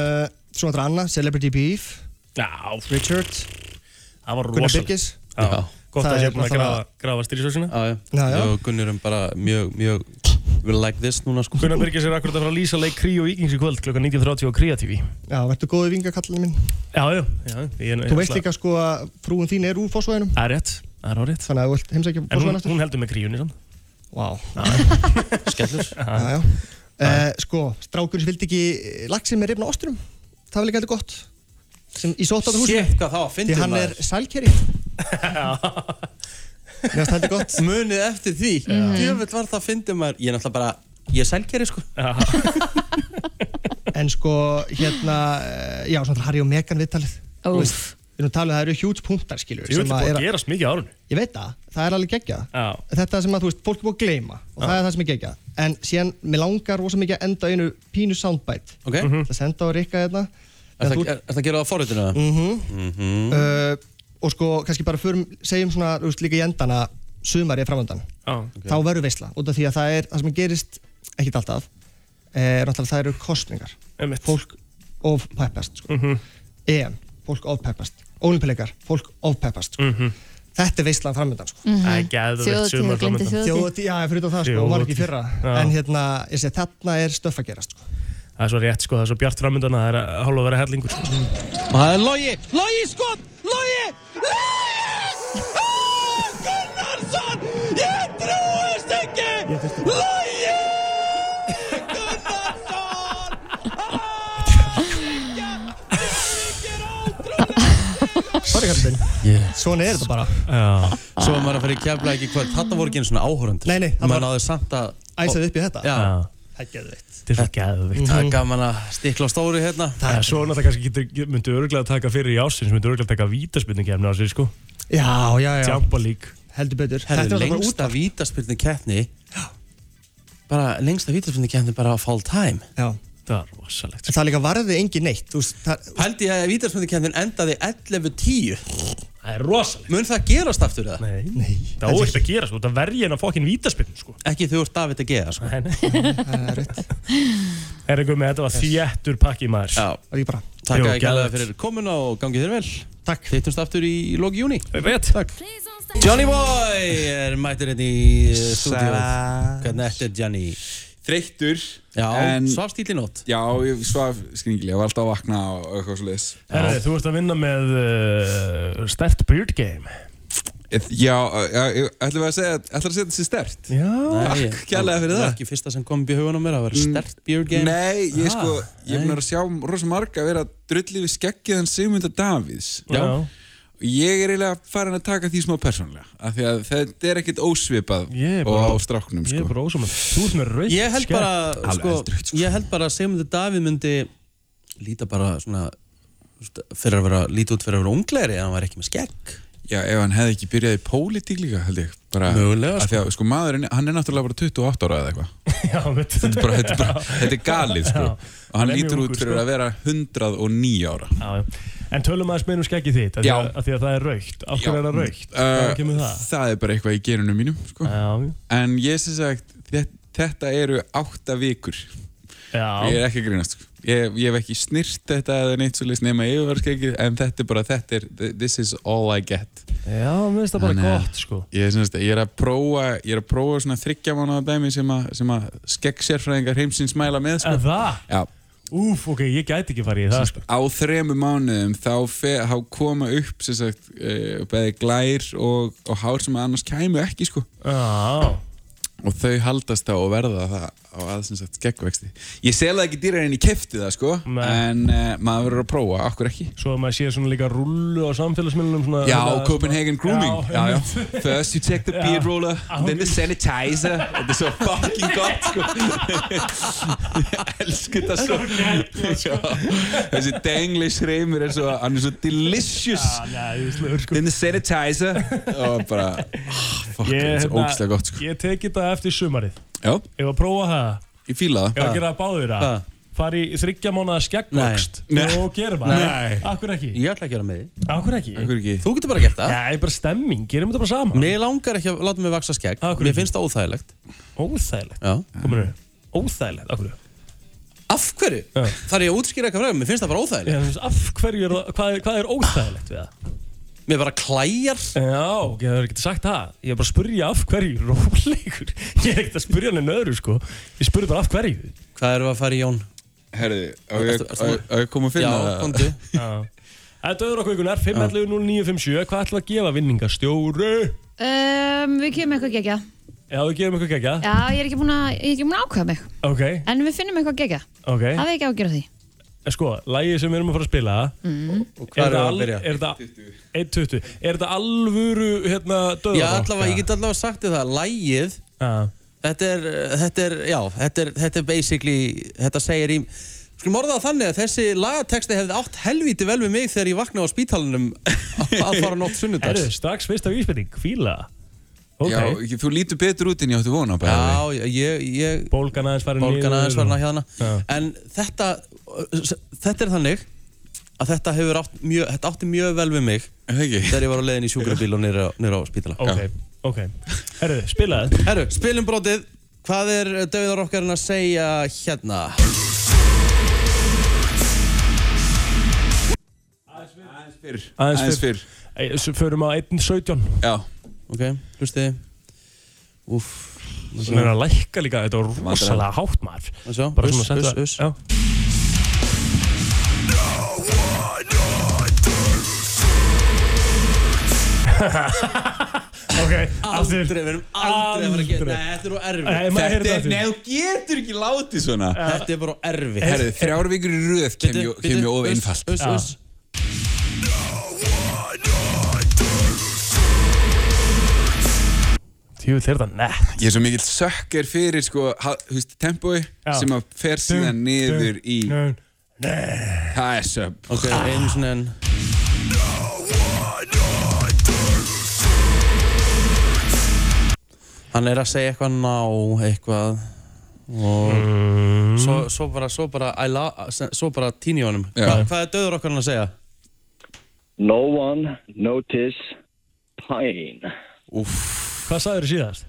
L: Svo náttúrulega annað, Celebrity Beef
A: Já
L: Richard
A: Það var
L: Gunnar
A: rosalegt.
L: Birgis
A: Já. Gott
L: Það
A: að
L: er
A: ég er búin að
L: náttúrulega-
A: grafa, grafa styrjusöksina
B: Já,
L: Já, já.
B: Og Gunnurum bara mjög, mjög We're like this núna sko
A: Gunnar Birgis er akkurat að fara að lýsa leik Kríu og Íkings í kvöld kl. 19.30 á Kría TV
L: Já, verður góðu vingakallinu minn
A: Já, já, já ég,
L: Þú veist líka sko að frúin þín er úr fósvæðinum
A: Það er rétt, það er árið
L: Þannig að þú vilt heimsækja
A: En
L: fósvæðin
A: hún, hún heldur með Kríunni sann
L: Vá
B: Skellur
L: Já, já. Uh, sko, strákurinn sem vildi ekki laxin með rifna osturum, það var líka heldur gott sem í sóttáta húsinu
B: Shit, hvað það var fyndið,
L: því hann
B: maður.
L: er sælkeri Mér finnst heldur gott Mhm.
B: Munið eftir því Djöfell var það að fyndi maður Ég er náttúrulega bara Ég er sælkeri sko
L: en sko, hérna eh, já, svona Harry og Meghan viðtalið Þú veist, við erum talið að það eru huge punktar skilur
A: Ég vil
L: sem
A: búið
L: er
A: að gerast mikið á árinu
L: ég veit það, það er alveg geggja
A: Já,
L: þetta sem að, þú veist, fólk er búið að gleyma og það er það sem er geggja en síðan, mér langar rosa mikið að enda á einu pínu soundbite
B: Ok.
L: það senda á Rikka hérna
B: Er
L: En þú-
B: það er það að gera það á forritinu?
L: Mhm.
B: Mhm.
L: uh, og sko kannski bara förum, segjum svona þú veist, líka í endan að sumar er framöndan
A: já
L: þá verður veisla út af því að það er það sem gerist ekkit alltaf eh, er náttúrulega það eru kostningar
A: Einmitt. Mhm.
L: fólk ofpeppast sko. EM, fólk ofpeppast Ólimpileikar, fólk ofpeppast sko. þetta er veislan framöndan sko.
A: Mhm. Það er geðveikt Þjóðhátíð, sumar gleymdi framundan. þjóðhátíð.
L: Þjóðhátíð, já, fyrir það sko, hún var ekki í fyrra
A: Já.
L: en hérna, ég segi, þarna er stöff að gerast sko.
A: það er svo rétt sko, það er svo bjart framöndan að það er hálfa að vera hellingur sko.
B: Og það er logi Logi skot Logi Gunnarsson Ég trúist ekki Logi
L: Sorry, Katrin
B: yeah.
L: Svona er þetta bara
A: Já.
B: Svo var maður að fara í kefla ekki kvöld Þetta voru ekki einu svona áhórundir
L: Nei, nei, það
B: Maður
L: var-
B: náði samt að
L: Æsaði upp í þetta.
B: Já
A: Já.
L: Það er geðveikt
A: Þetta er svo geðvikt
B: Það er
L: Mhm.
B: gaman að stikla á stóru hérna
A: Það er svo náttúrulega kannski getur, myndu öruglega taka fyrir í ásins, myndu öruglega taka vítaspilningkefni á sér sko.
L: Já, já, já
A: Jumpa League.
L: Heldur betur Þetta
B: Herðu,
L: er bara út
B: lengsta vítaspilni keppni Bara lengsta vítaspilni keppni bara á full time
L: Já
A: Það er rosalegt
L: En það líka varði engin neitt Þú veist, það
B: Hældi ég að vítaspilni keppnin endaði 11.10
A: Það er rosalegt
B: Mun það gerast aftur það?
A: Nei, Nei. Það er óvilt að gera sko, það verði hérna fokkin vítaspiln sko.
B: Ekki þú ert David að geða sko.
A: Er einhver með þetta var þéttur pakki maður
B: Já,
L: var ég bara
B: Takk að ég gæla fyrir komuna og gangi þér vel
L: Takk
B: Hittumst aftur í loki júni
A: Veit
B: Takk Johnny Boy er mættur hérna í eh, stúdíóið Hvernig ertu Johnny?
M: Þreyttur
B: Já,
M: En-
B: svafst íll í nótt
M: Já, ég svaf skringilega, ég var alltaf að vakna og eitthvað svo leiðis
A: Herri, þú ert að vinna með uh, stert beard game
M: Já, já, ég- ætlum við að segja, ætlar að segja þetta sér stert?
A: Já
B: Nei,
M: Takk kærlega fyrir
B: var
M: það
B: ekki fyrsta sem kom upp í hugan á mér að vera stert beer game Ah,
M: Nei, ég sko, ég er búin að vera
B: nei.
M: að sjá rosa marga að vera drullið við skeggiðan Sigmunda Davíðs
B: Já.
M: Og ég er eiginlega farin að taka því smá persónlega af því að þetta er ekkert ósvipað
A: Ég er bara-
M: og á stráknum sko.
A: Ég er bara ósum Þú ert með rautt
B: Ég held bara,
M: Alveg
B: sko, ég held bara að Sigmundur Davíð myndi líta bara svona st-
A: [LAUGHS]
B: fyrir að vera, líta út fyrir að vera unglegri en hann var ekki með skegg
M: Já, ef hann hefði ekki byrjað í pólitík líka, held ég bara,
B: Mögulega,
M: sko. Því að, sko, maðurinn, hann er náttúrulega bara 28 ára eða eitthvað
A: Já, veit
M: Þetta er bara, þetta er bara, þetta er galið, sko Og hann
A: Lemja
M: lítur út
A: ungur,
M: fyrir
A: sko.
M: að vera 109 ára
A: Já, já. En tölum aðeins meina um skeggið þitt af því
M: Já.
A: að, af því að það er raukt Af hverju er það raukt?
M: Uh,
A: Hvaðan kemur það?
M: er bara eitthvað í gerunum mínum, sko
A: Já.
M: En ég sem sagt, þetta, þetta eru átta vikur
A: Já.
M: Ég er ekki að grínast, sko Ég, ég hef ekki snyrt þetta eða neitt svo leist nema yfirvarskegið En þetta er bara, þetta er, this is all I get
A: Já, mér finnst það bara
M: Þannig að-
A: gott sko
M: Ég, semst, ég er að prófa, ég er að prófa svona þryggja mánuða dæmi sem að, sem að skegg sérfræðingar heimsins mæla með sko.
A: En það?
M: Já.
A: Úf, ok, ég gæti ekki farið í það sko
M: Á þremu mánuðum þá, fe, þá koma upp sem sagt e, uh, bæði glær og, og hár sem að annars kæmu ekki sko.
A: Já
M: og þau haldast þá og verða það á aðsinsagt skeggvexti ég sel það ekki dýrar en ég kefti það sko en uh, maður verður að prófa, akkur ekki
A: Svo að maður sé svona líka rullu á samfélagsmiðlunum svona-
M: Já,
A: svona-
M: Copenhagen grooming
A: sko- Já,
M: já, já.
A: einmitt.
M: First you take the
A: Já.
M: beard roller Then the sanitizer Þetta er svo fucking gott sko. Elsku þetta svo
A: sko.
M: Já. Þessi denglish reymur er svo Hann er svo delicious Then the sanitizer Og bara ah, Fuck, þetta er svo
A: hérna,
M: ógstlega gott sko.
A: Ég teki þetta eftir sumarið
M: Já,
A: Ég var að prófa það
M: ég fíla
A: Ég var
M: það
A: að gera það báður það
M: Ha.
A: Fari í þryggja mánuða skeggvöxt
M: Nei.
A: Og gerum það
B: Nei.
A: Akkur ekki
B: Ég ætla að gera með því
A: Akkur ekki
M: Akkur ekki
B: Þú getur bara gert það
A: Nei, bara stemming, gerum þetta bara saman
B: Mér langar ekki að láta mig vaksa skegg Mér finnst það óþægilegt
A: Óþægilegt?
B: Já
A: Kominu, óþægilegt, af hverju?
B: Af hverju? Þar ég að útskýra eitthvað fræðum, mér finnst það bara óþægilegt
A: Ég finnst, Af hverju, er, það- hvað, er, hvað er óþægilegt við það?
B: Mér bara klæjar
A: Já, ég hef ekki sagt það Ég er bara að spurja af hverju, rólegur Ég er ekkert að spurja hann en öðru, sko Ég spurði bara af hverju
B: Hvað erum við að fara í Jón?
M: Herði, á
A: ég-
M: á ég að koma að finna
B: Já,
M: það?
A: [LAUGHS]
B: komdu
A: Þetta öðru okkur ykkurnar, 5.11.09.57 Hvað ætlum við að gefa vinningastjóru?
C: um, Við kemum eitthvað gegja
A: Já, við gefum ykkur gegja
C: Já, ég er ekki búin að, ég er ekki búin að ákveða mig
A: Ok,
C: En við finnum eitthvað gegja
A: ok
C: Það er ekki ágjörð því
A: Sko, lægið sem við erum að fara að spila
C: mm.
B: hvar
A: það
B: erum við að
A: al-
B: byrja?
A: Er þetta 1.20 Er þetta alvöru, hérna, döðarokk?
B: Já, allavega, ég get allavega sagt þér það Lægið þetta, er, uh, þetta er, já, þetta er, þetta er basically Þetta segir í Skulum orða það þannig að þessi lagatexti hefði átt helvíti vel við mig þegar ég vaknaði á spítalunum [LAUGHS] að fara nótt sunnudags
A: Herru, strax fyrsta vísbending, fíla Ok.
M: Já, ég- þú lítur betur út en ég átti vona bara
B: Já, ég, ég
A: Bólgan aðeins farin
B: Bólgan
A: niður
B: aðeins farin að hérna.
A: Já.
B: En þetta, þetta er þannig að þetta hefur átt mjög, þetta átti mjög vel við mig þegar ég var á leiðin í sjúkrabíl og niður á, niður á spítala.
A: Ok, ok Herru, spilað
B: Herru, spilum brotið. Hvað er Dauðar okkarinn að segja hérna?
M: fyrr
A: Aðeins fyrr Æ, Svo förum á 1.17
M: Já
B: Ok, hlusti Úff
A: Sem er að lækka líka, þetta var rosalega hátt maður
B: Að sjá,
A: Bara
B: uss,
A: svona að
B: uss,
A: setja
B: uss.
A: Já. [LAUGHS] Ok,
B: Aldrei, við erum aldrei að vera að gera
A: Aldrei.
B: Nei, þetta er nú
A: Nei,
B: erfið
A: maður heyrir
M: Þetta
A: það
M: er,
A: því.
M: nei, þú getur ekki látið svona
B: Þetta er bara erfið
M: Herðu, þrjár vikur í röð kem ég- kem ég of einfalt
B: Uss, uss, uss
A: Jú, þeir það nett
M: Ég er svo mikill sökker fyrir sko, ha- þú veist, tempói sem að fer síðan niður í Það er söp
B: Ok, einu svona en Hann er að segja eitthvað ná eitthvað og
A: Mm.
B: svo, svo bara, svo bara, I love, svo bara tíni í honum Hva, Hvað er döður okkarinn að segja?
N: No one notice pain.
A: Hvað sagður þið síðast?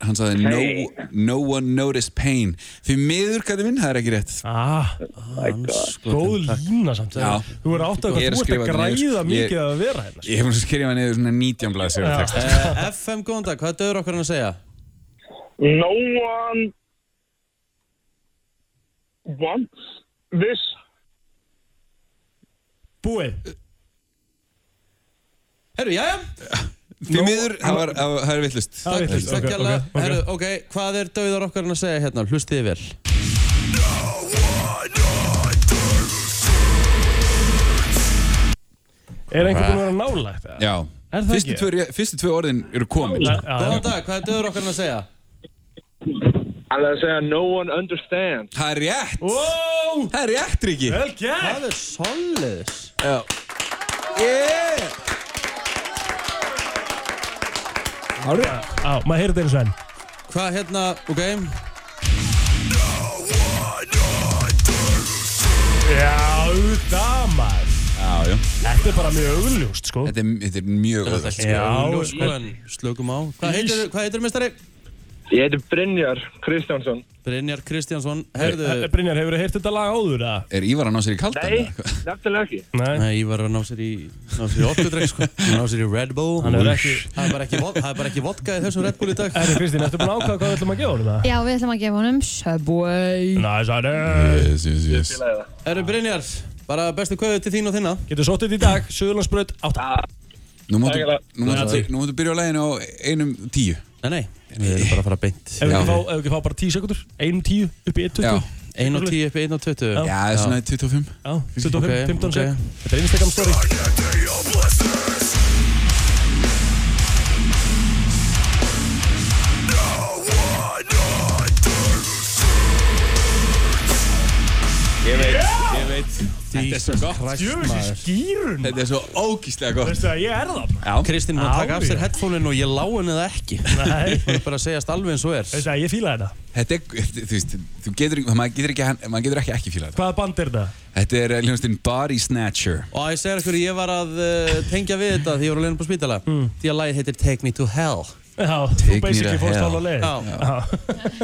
M: Hann sagði no,
N: Hey.
M: no one noticed pain Því miður hvað þið minn, það er ekki rétt Sko,
A: ah,
B: Oh
A: Góð lína samt
M: Já.
A: Þú er átt að
M: Ég er
A: þú ert að
M: skrifað niður,
A: græða
M: sko. Ég-
A: mikið að vera hérna
M: Ég hef mér svo skrifað niður svona 19 blaðsir
A: Já.
B: [LAUGHS]
M: sko.
B: Eh, FM góðan dag, hvað er döður okkarinn að segja?
O: No one wants this.
A: Búið.
B: Herru, jæja
M: Því miður, það var- það var- það er vittlust
B: Það er vitlaust, ok, ok, ok. Herru, ok, hvað er döður okkarinn að segja hérna? Hlustið vel
A: Er einhver búinn að vera nálægt? eða?
M: Já,
A: Er það
M: fyrstu
A: ekki?
M: tvö, fyrstu tvö orðin eru komin sko.
A: Já,
B: Góðan dag, hvað er döður okkarinn að segja?
M: Það er að segja no one understands Það er rétt
A: wow!
M: Það er rétt, Ríki
A: Vel gert
B: Það er solliðis
M: Já Yeah
A: Ári Á, maður heyrði þetta eins og enn
B: Hvað hérna, ok
A: Já, damar
M: Já, já
A: Þetta er bara mjög augljóst, sko
M: Þetta er, þetta er mjög
B: Þetta er
M: auðvægt
B: ekki augljóst, sko, en slökum á Hvað heitir, hvað heitir mestari?
O: Ég heiti Brynjar Kristjánsson.
B: Brynjar Kristjánsson
A: Herðu
B: Herðu
A: Eh, Brynjar, hefur þið heyrt þetta lag áður, eða?
M: Er Ívar að ná sér í kaldan?
O: Nei, nefnilega ekki.
A: Nei
B: Nei, ég var að ná sér í Ná sér í orkudreng, sko Ná sér í Red Bull
A: Hann er ekki-
B: Það er bara ekki, vo- það er bara ekki vodka í þessum Red Bull í dag
A: Herri, Kristín, ertu búin að ákvaða hvað við ætlum að gefa honum það?
C: Já, við ætlum að gefa honum Subway
A: Nice, honey
M: Yes, yes, yes
B: Herru Brynjar, bara bestu kveðu til þín og þinna
A: Getur sóttið í dag, Suðurlandsbröð 8
M: Nú máttu,
A: Takk, Ella.
M: nú, máttu, nú máttu byrja á læginu á einum tíu
B: Nei, nei, við erum bara að fara beint
A: Ef við
B: Já.
A: ekki fá, ef við ekki fá bara 10 sekundur 1 10 upp í 1
B: Já,
A: 20
B: 1 og 10 upp í 1 og 20
A: Já, það er svona
M: 25
A: Já, 25,
B: Ok,
A: 15
B: ok.
A: sek Þetta er Instagram story
M: Ég veit, ég veit Þetta er svo gott
A: Djöfis í skýrun
M: Þetta er svo ógíslega gott
A: Veistu að ég er það
M: Já
B: Kristín er búin að taka af sér headphone-in og ég lá henni það ekki
A: [LAUGHS] Nei
B: Hún er bara að segjast alveg eins og er
A: Veistu að ég fíla þetta
M: Þetta er, þú veist, þú getur, maður getur ekki, maður getur ekki ekki fíla þetta
A: Hvaða band er þetta?
M: Þetta er hljónstinn Body Snatcher
B: Og ég segir ykkur, ég var að uh, tengja við þetta því ég voru að leina upp á spítala Því að lagið heitir Take Me To Hell
A: Hmm. Já,
M: Take
A: þú
M: me
A: basically
M: to
A: fórst
M: hell.
A: hálfa leið
B: Já.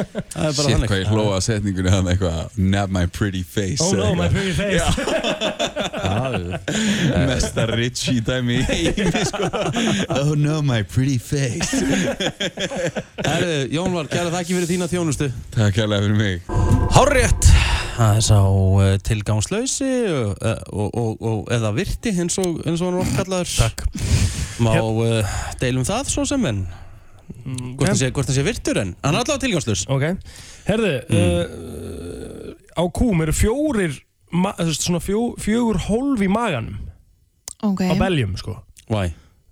A: Það er bara
M: Shit,
A: þannig
M: hvað ég hlóa að setningunni hann eitthvað Not my pretty face
A: Oh no, my pretty face
M: face Mesta Richie dæmi í heimi, sko. Oh no, my pretty face
B: Herðu, Jón var gæla þakki fyrir þína þjónustu
M: Takk hérlega fyrir mig
B: Hárrétt Það er sá uh, tilgangslausi og, og, og, og eða virti eins og, eins og hann er oft kallaður Takk Má uh, deilum það svo sem en hvort hann sé, hvort hann sé virtur en hann er allavega tilgangslaus
A: Mm,
B: Mm.
A: Ok eh, Herði, uh, á kúm eru fjórir ma- þú veist, svona fjó, fjögur hólf í maganum
C: Ok.
A: á beljum sko
B: Why?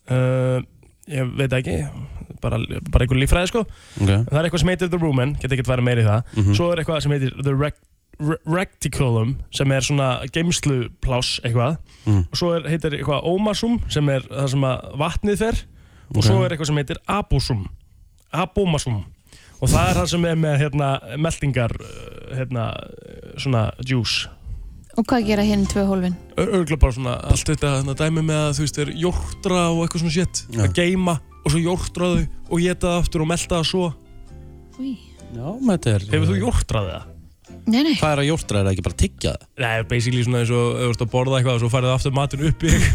A: Uh, ég veit það ekki bara, bara einhver líffræði sko
B: Ok.
A: það er eitthvað sem heitir The Rumen, get ekki að vera meira í það
B: Mhm.
A: svo er eitthvað sem heitir The rec re Recticulum sem er svona geimslupláss eitthvað
L: Mhm.
B: Mm.
A: og svo er, heitir eitthvað Omasum sem er það sem að vatnið fer og
B: Ok.
A: svo er eitthvað sem heitir Abusum Abomasum og það er það sem er með hérna, meldingar hérna, svona juice
C: Og hvað gera hinn tvö hólfin?
A: örgulega bara svona allt þetta þarna dæmi með að þú veist er jórtra og eitthvað svona shit að geima og svo jórtra þau og geta það aftur og melta það svo
B: Já, þetta er
A: Hefur þú jórtrað það?
C: Nei, nei
B: Hvað er að jórtra? Er það ekki bara að tyggja það?
A: Nei, basically svona eins og ef þú ert að borða eitthvað og svo færið aftur matinn upp í þig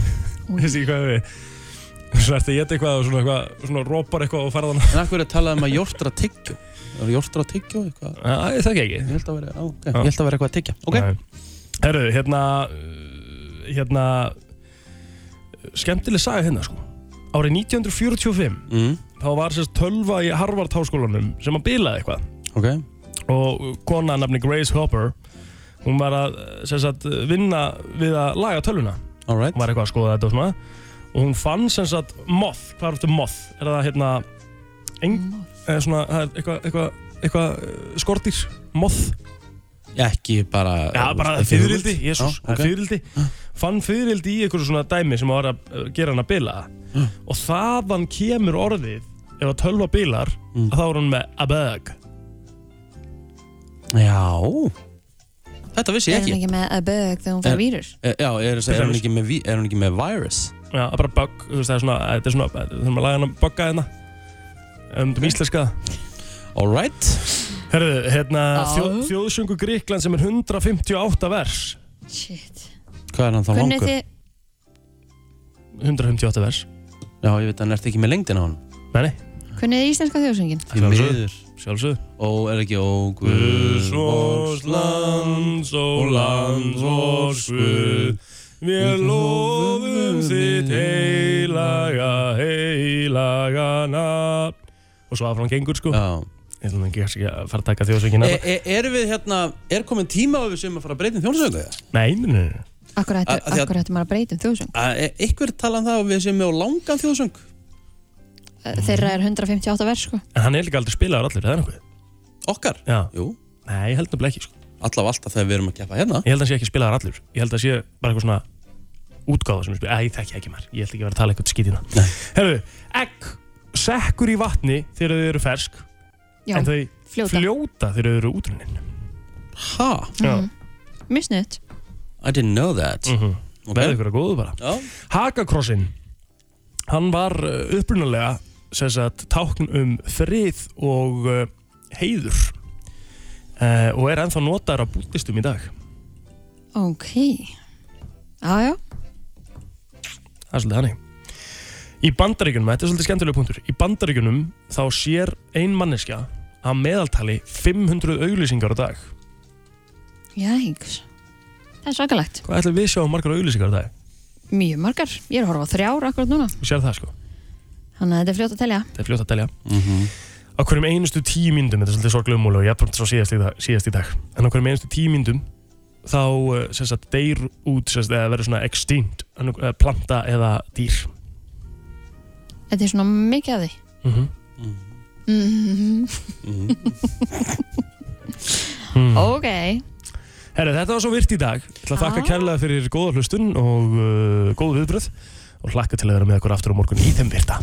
A: Þessi ekki hvað við Svo ert að geta eitthvað og svona eitthvað svona rópar eitthvað og færið hann
B: En akkur er að tala um að jórtra tyggjó Er jórtra tyggjó eitthvað?
A: Já, ég þekki ekki Ég
B: held að vera, á, ok Ég held að vera eitthvað að tyggja Ok
A: Herru, hérna uh, hérna skemmtileg saga hérna sko Árið 1945
B: mm.
A: þá var sérst tölva í Harvard háskólanum sem að bilaði eitthvað
B: Ok
A: og kona nafni Grace Hopper hún var að sem sagt, vinna við að laga tölvuna
B: right.
A: hún var eitthvað að skoða þetta og svona og hún fann sem sagt moth, hvað er þetta moth? er það hérna eng, eða svona, það er eitthvað eitthva, eitthva, skortýr, moth
B: Ekki bara
A: Já, bara fyririldi, jésús,
B: Já, ok.
A: fyririldi Fann fyririldi í einhverju svona dæmi sem var að uh, gera hann að bila Og þaðan kemur orðið Ef að tölva bilar
B: Mm.
A: að Þá er hann með a bug
B: Já Þetta vissi
C: Er
B: ég
C: hann
B: ekki
C: ekki með að bög þegar hún fær vírus?
A: Eh,
B: Er- Já, er, er, er, hún ekki með, vi- er hún ekki með virus?
A: Já, það er bara bug, þú veist það er svona Þetta er svona, það er svona lagan að bugga hérna Um, þú íslenska
B: All right
A: Herðu, hérna
C: Já.
A: þjó, Þjóðsöngu Gríkland sem er 158 vers
C: Shit
B: Hvað er hann þá
C: Kunnið
B: langur?
C: þið
A: 158 vers
B: Já, ég veit að hann ert ekki með lengdina á hann
A: Nei, nei
C: Kunnið þið íslenska þjóðsöngin?
B: Því miður
A: Sjálfsög
B: Ó, er ekki ó
A: Guðs
B: Guðs
A: vors lands og lands vors Guð Við lofum þitt heilaga, heilaga nafn Og svo aðfram gengur sko
B: Já
A: Ég ætlum ekki kannski að fara að taka þjóðsöngina
B: e, e, Erum við hérna, er komin tíma á við sem að fara að breyta um þjónsöku?
A: Nei, nei, nei
C: Akkur
B: Að- að því að-
C: ættum maður að breyta um þjóðsöng?
B: Ykkur tala um það að við sem með á langan þjónsöng
C: Þeirra er 158 vers sko
A: En hann er líka aldrei spilaður allir, það er nokkuð
B: Okkar?
A: Já
B: Jú
A: Nei, ég held nefnilega ekki sko
B: Allaf alltaf þegar við erum að keppa hérna
A: Ég held að hann sé ekki spilaður allir Ég held að sé bara eitthvað svona útgáfa sem er spilaður Æ, ég þekki ekki maður Ég held ekki að vera að tala eitthvað skítina Herru, egg sekkur í vatni þegar þau eru fersk
C: Já,
A: En þau
C: fljóta.
A: fljóta þegar þau eru útrunnin
B: Ha?
A: Já
C: Misnuðt
B: I didn't know that
A: mm -hmm.
B: Ok.
A: Verði ykkur að góðu bara
B: Já.
A: Hakakrossinn Hann var uh, upprunalega sem sagt, tákn um frið og uh, heiður uh, og er ennþá notaður af búttistum í dag
C: Ok Já, já
A: Það er svolítið hannig Í bandaríkunum, þetta er svolítið skemmtilega punktur Í bandaríkunum þá sér ein manneskja að meðaltali 500 auglýsingar á dag
C: Jæks Það er svakalegt
A: Hvað ætlum við sjáum margar auglýsingar á dag?
C: Mjög margar Ég er að horfa á þrjár akkurat núna
A: Við sér það sko
C: Þannig að þetta er fljótt að telja
A: þetta er fljótt að telja á hverjum einustu tíu myndum, þetta er svolítið sorglega umúlega og jafnframt svo síðast í, dag- síðast í dag en á hverjum einustu tíu myndum þá uh, sem sagt, deyr út sem sagt, eða verður svona extinct annað- eh, planta eða dýr
C: Þetta er svona mikið af því
A: mm
C: Mhm.
A: Hmm.
C: Ok
A: Herra, þetta var svo virt í dag Ég ætla að þakka kærlega eh, fyrir góða hlustun og uh, góð viðbröð og hlakka til að vera með okkur aftur á morgun í þeim virta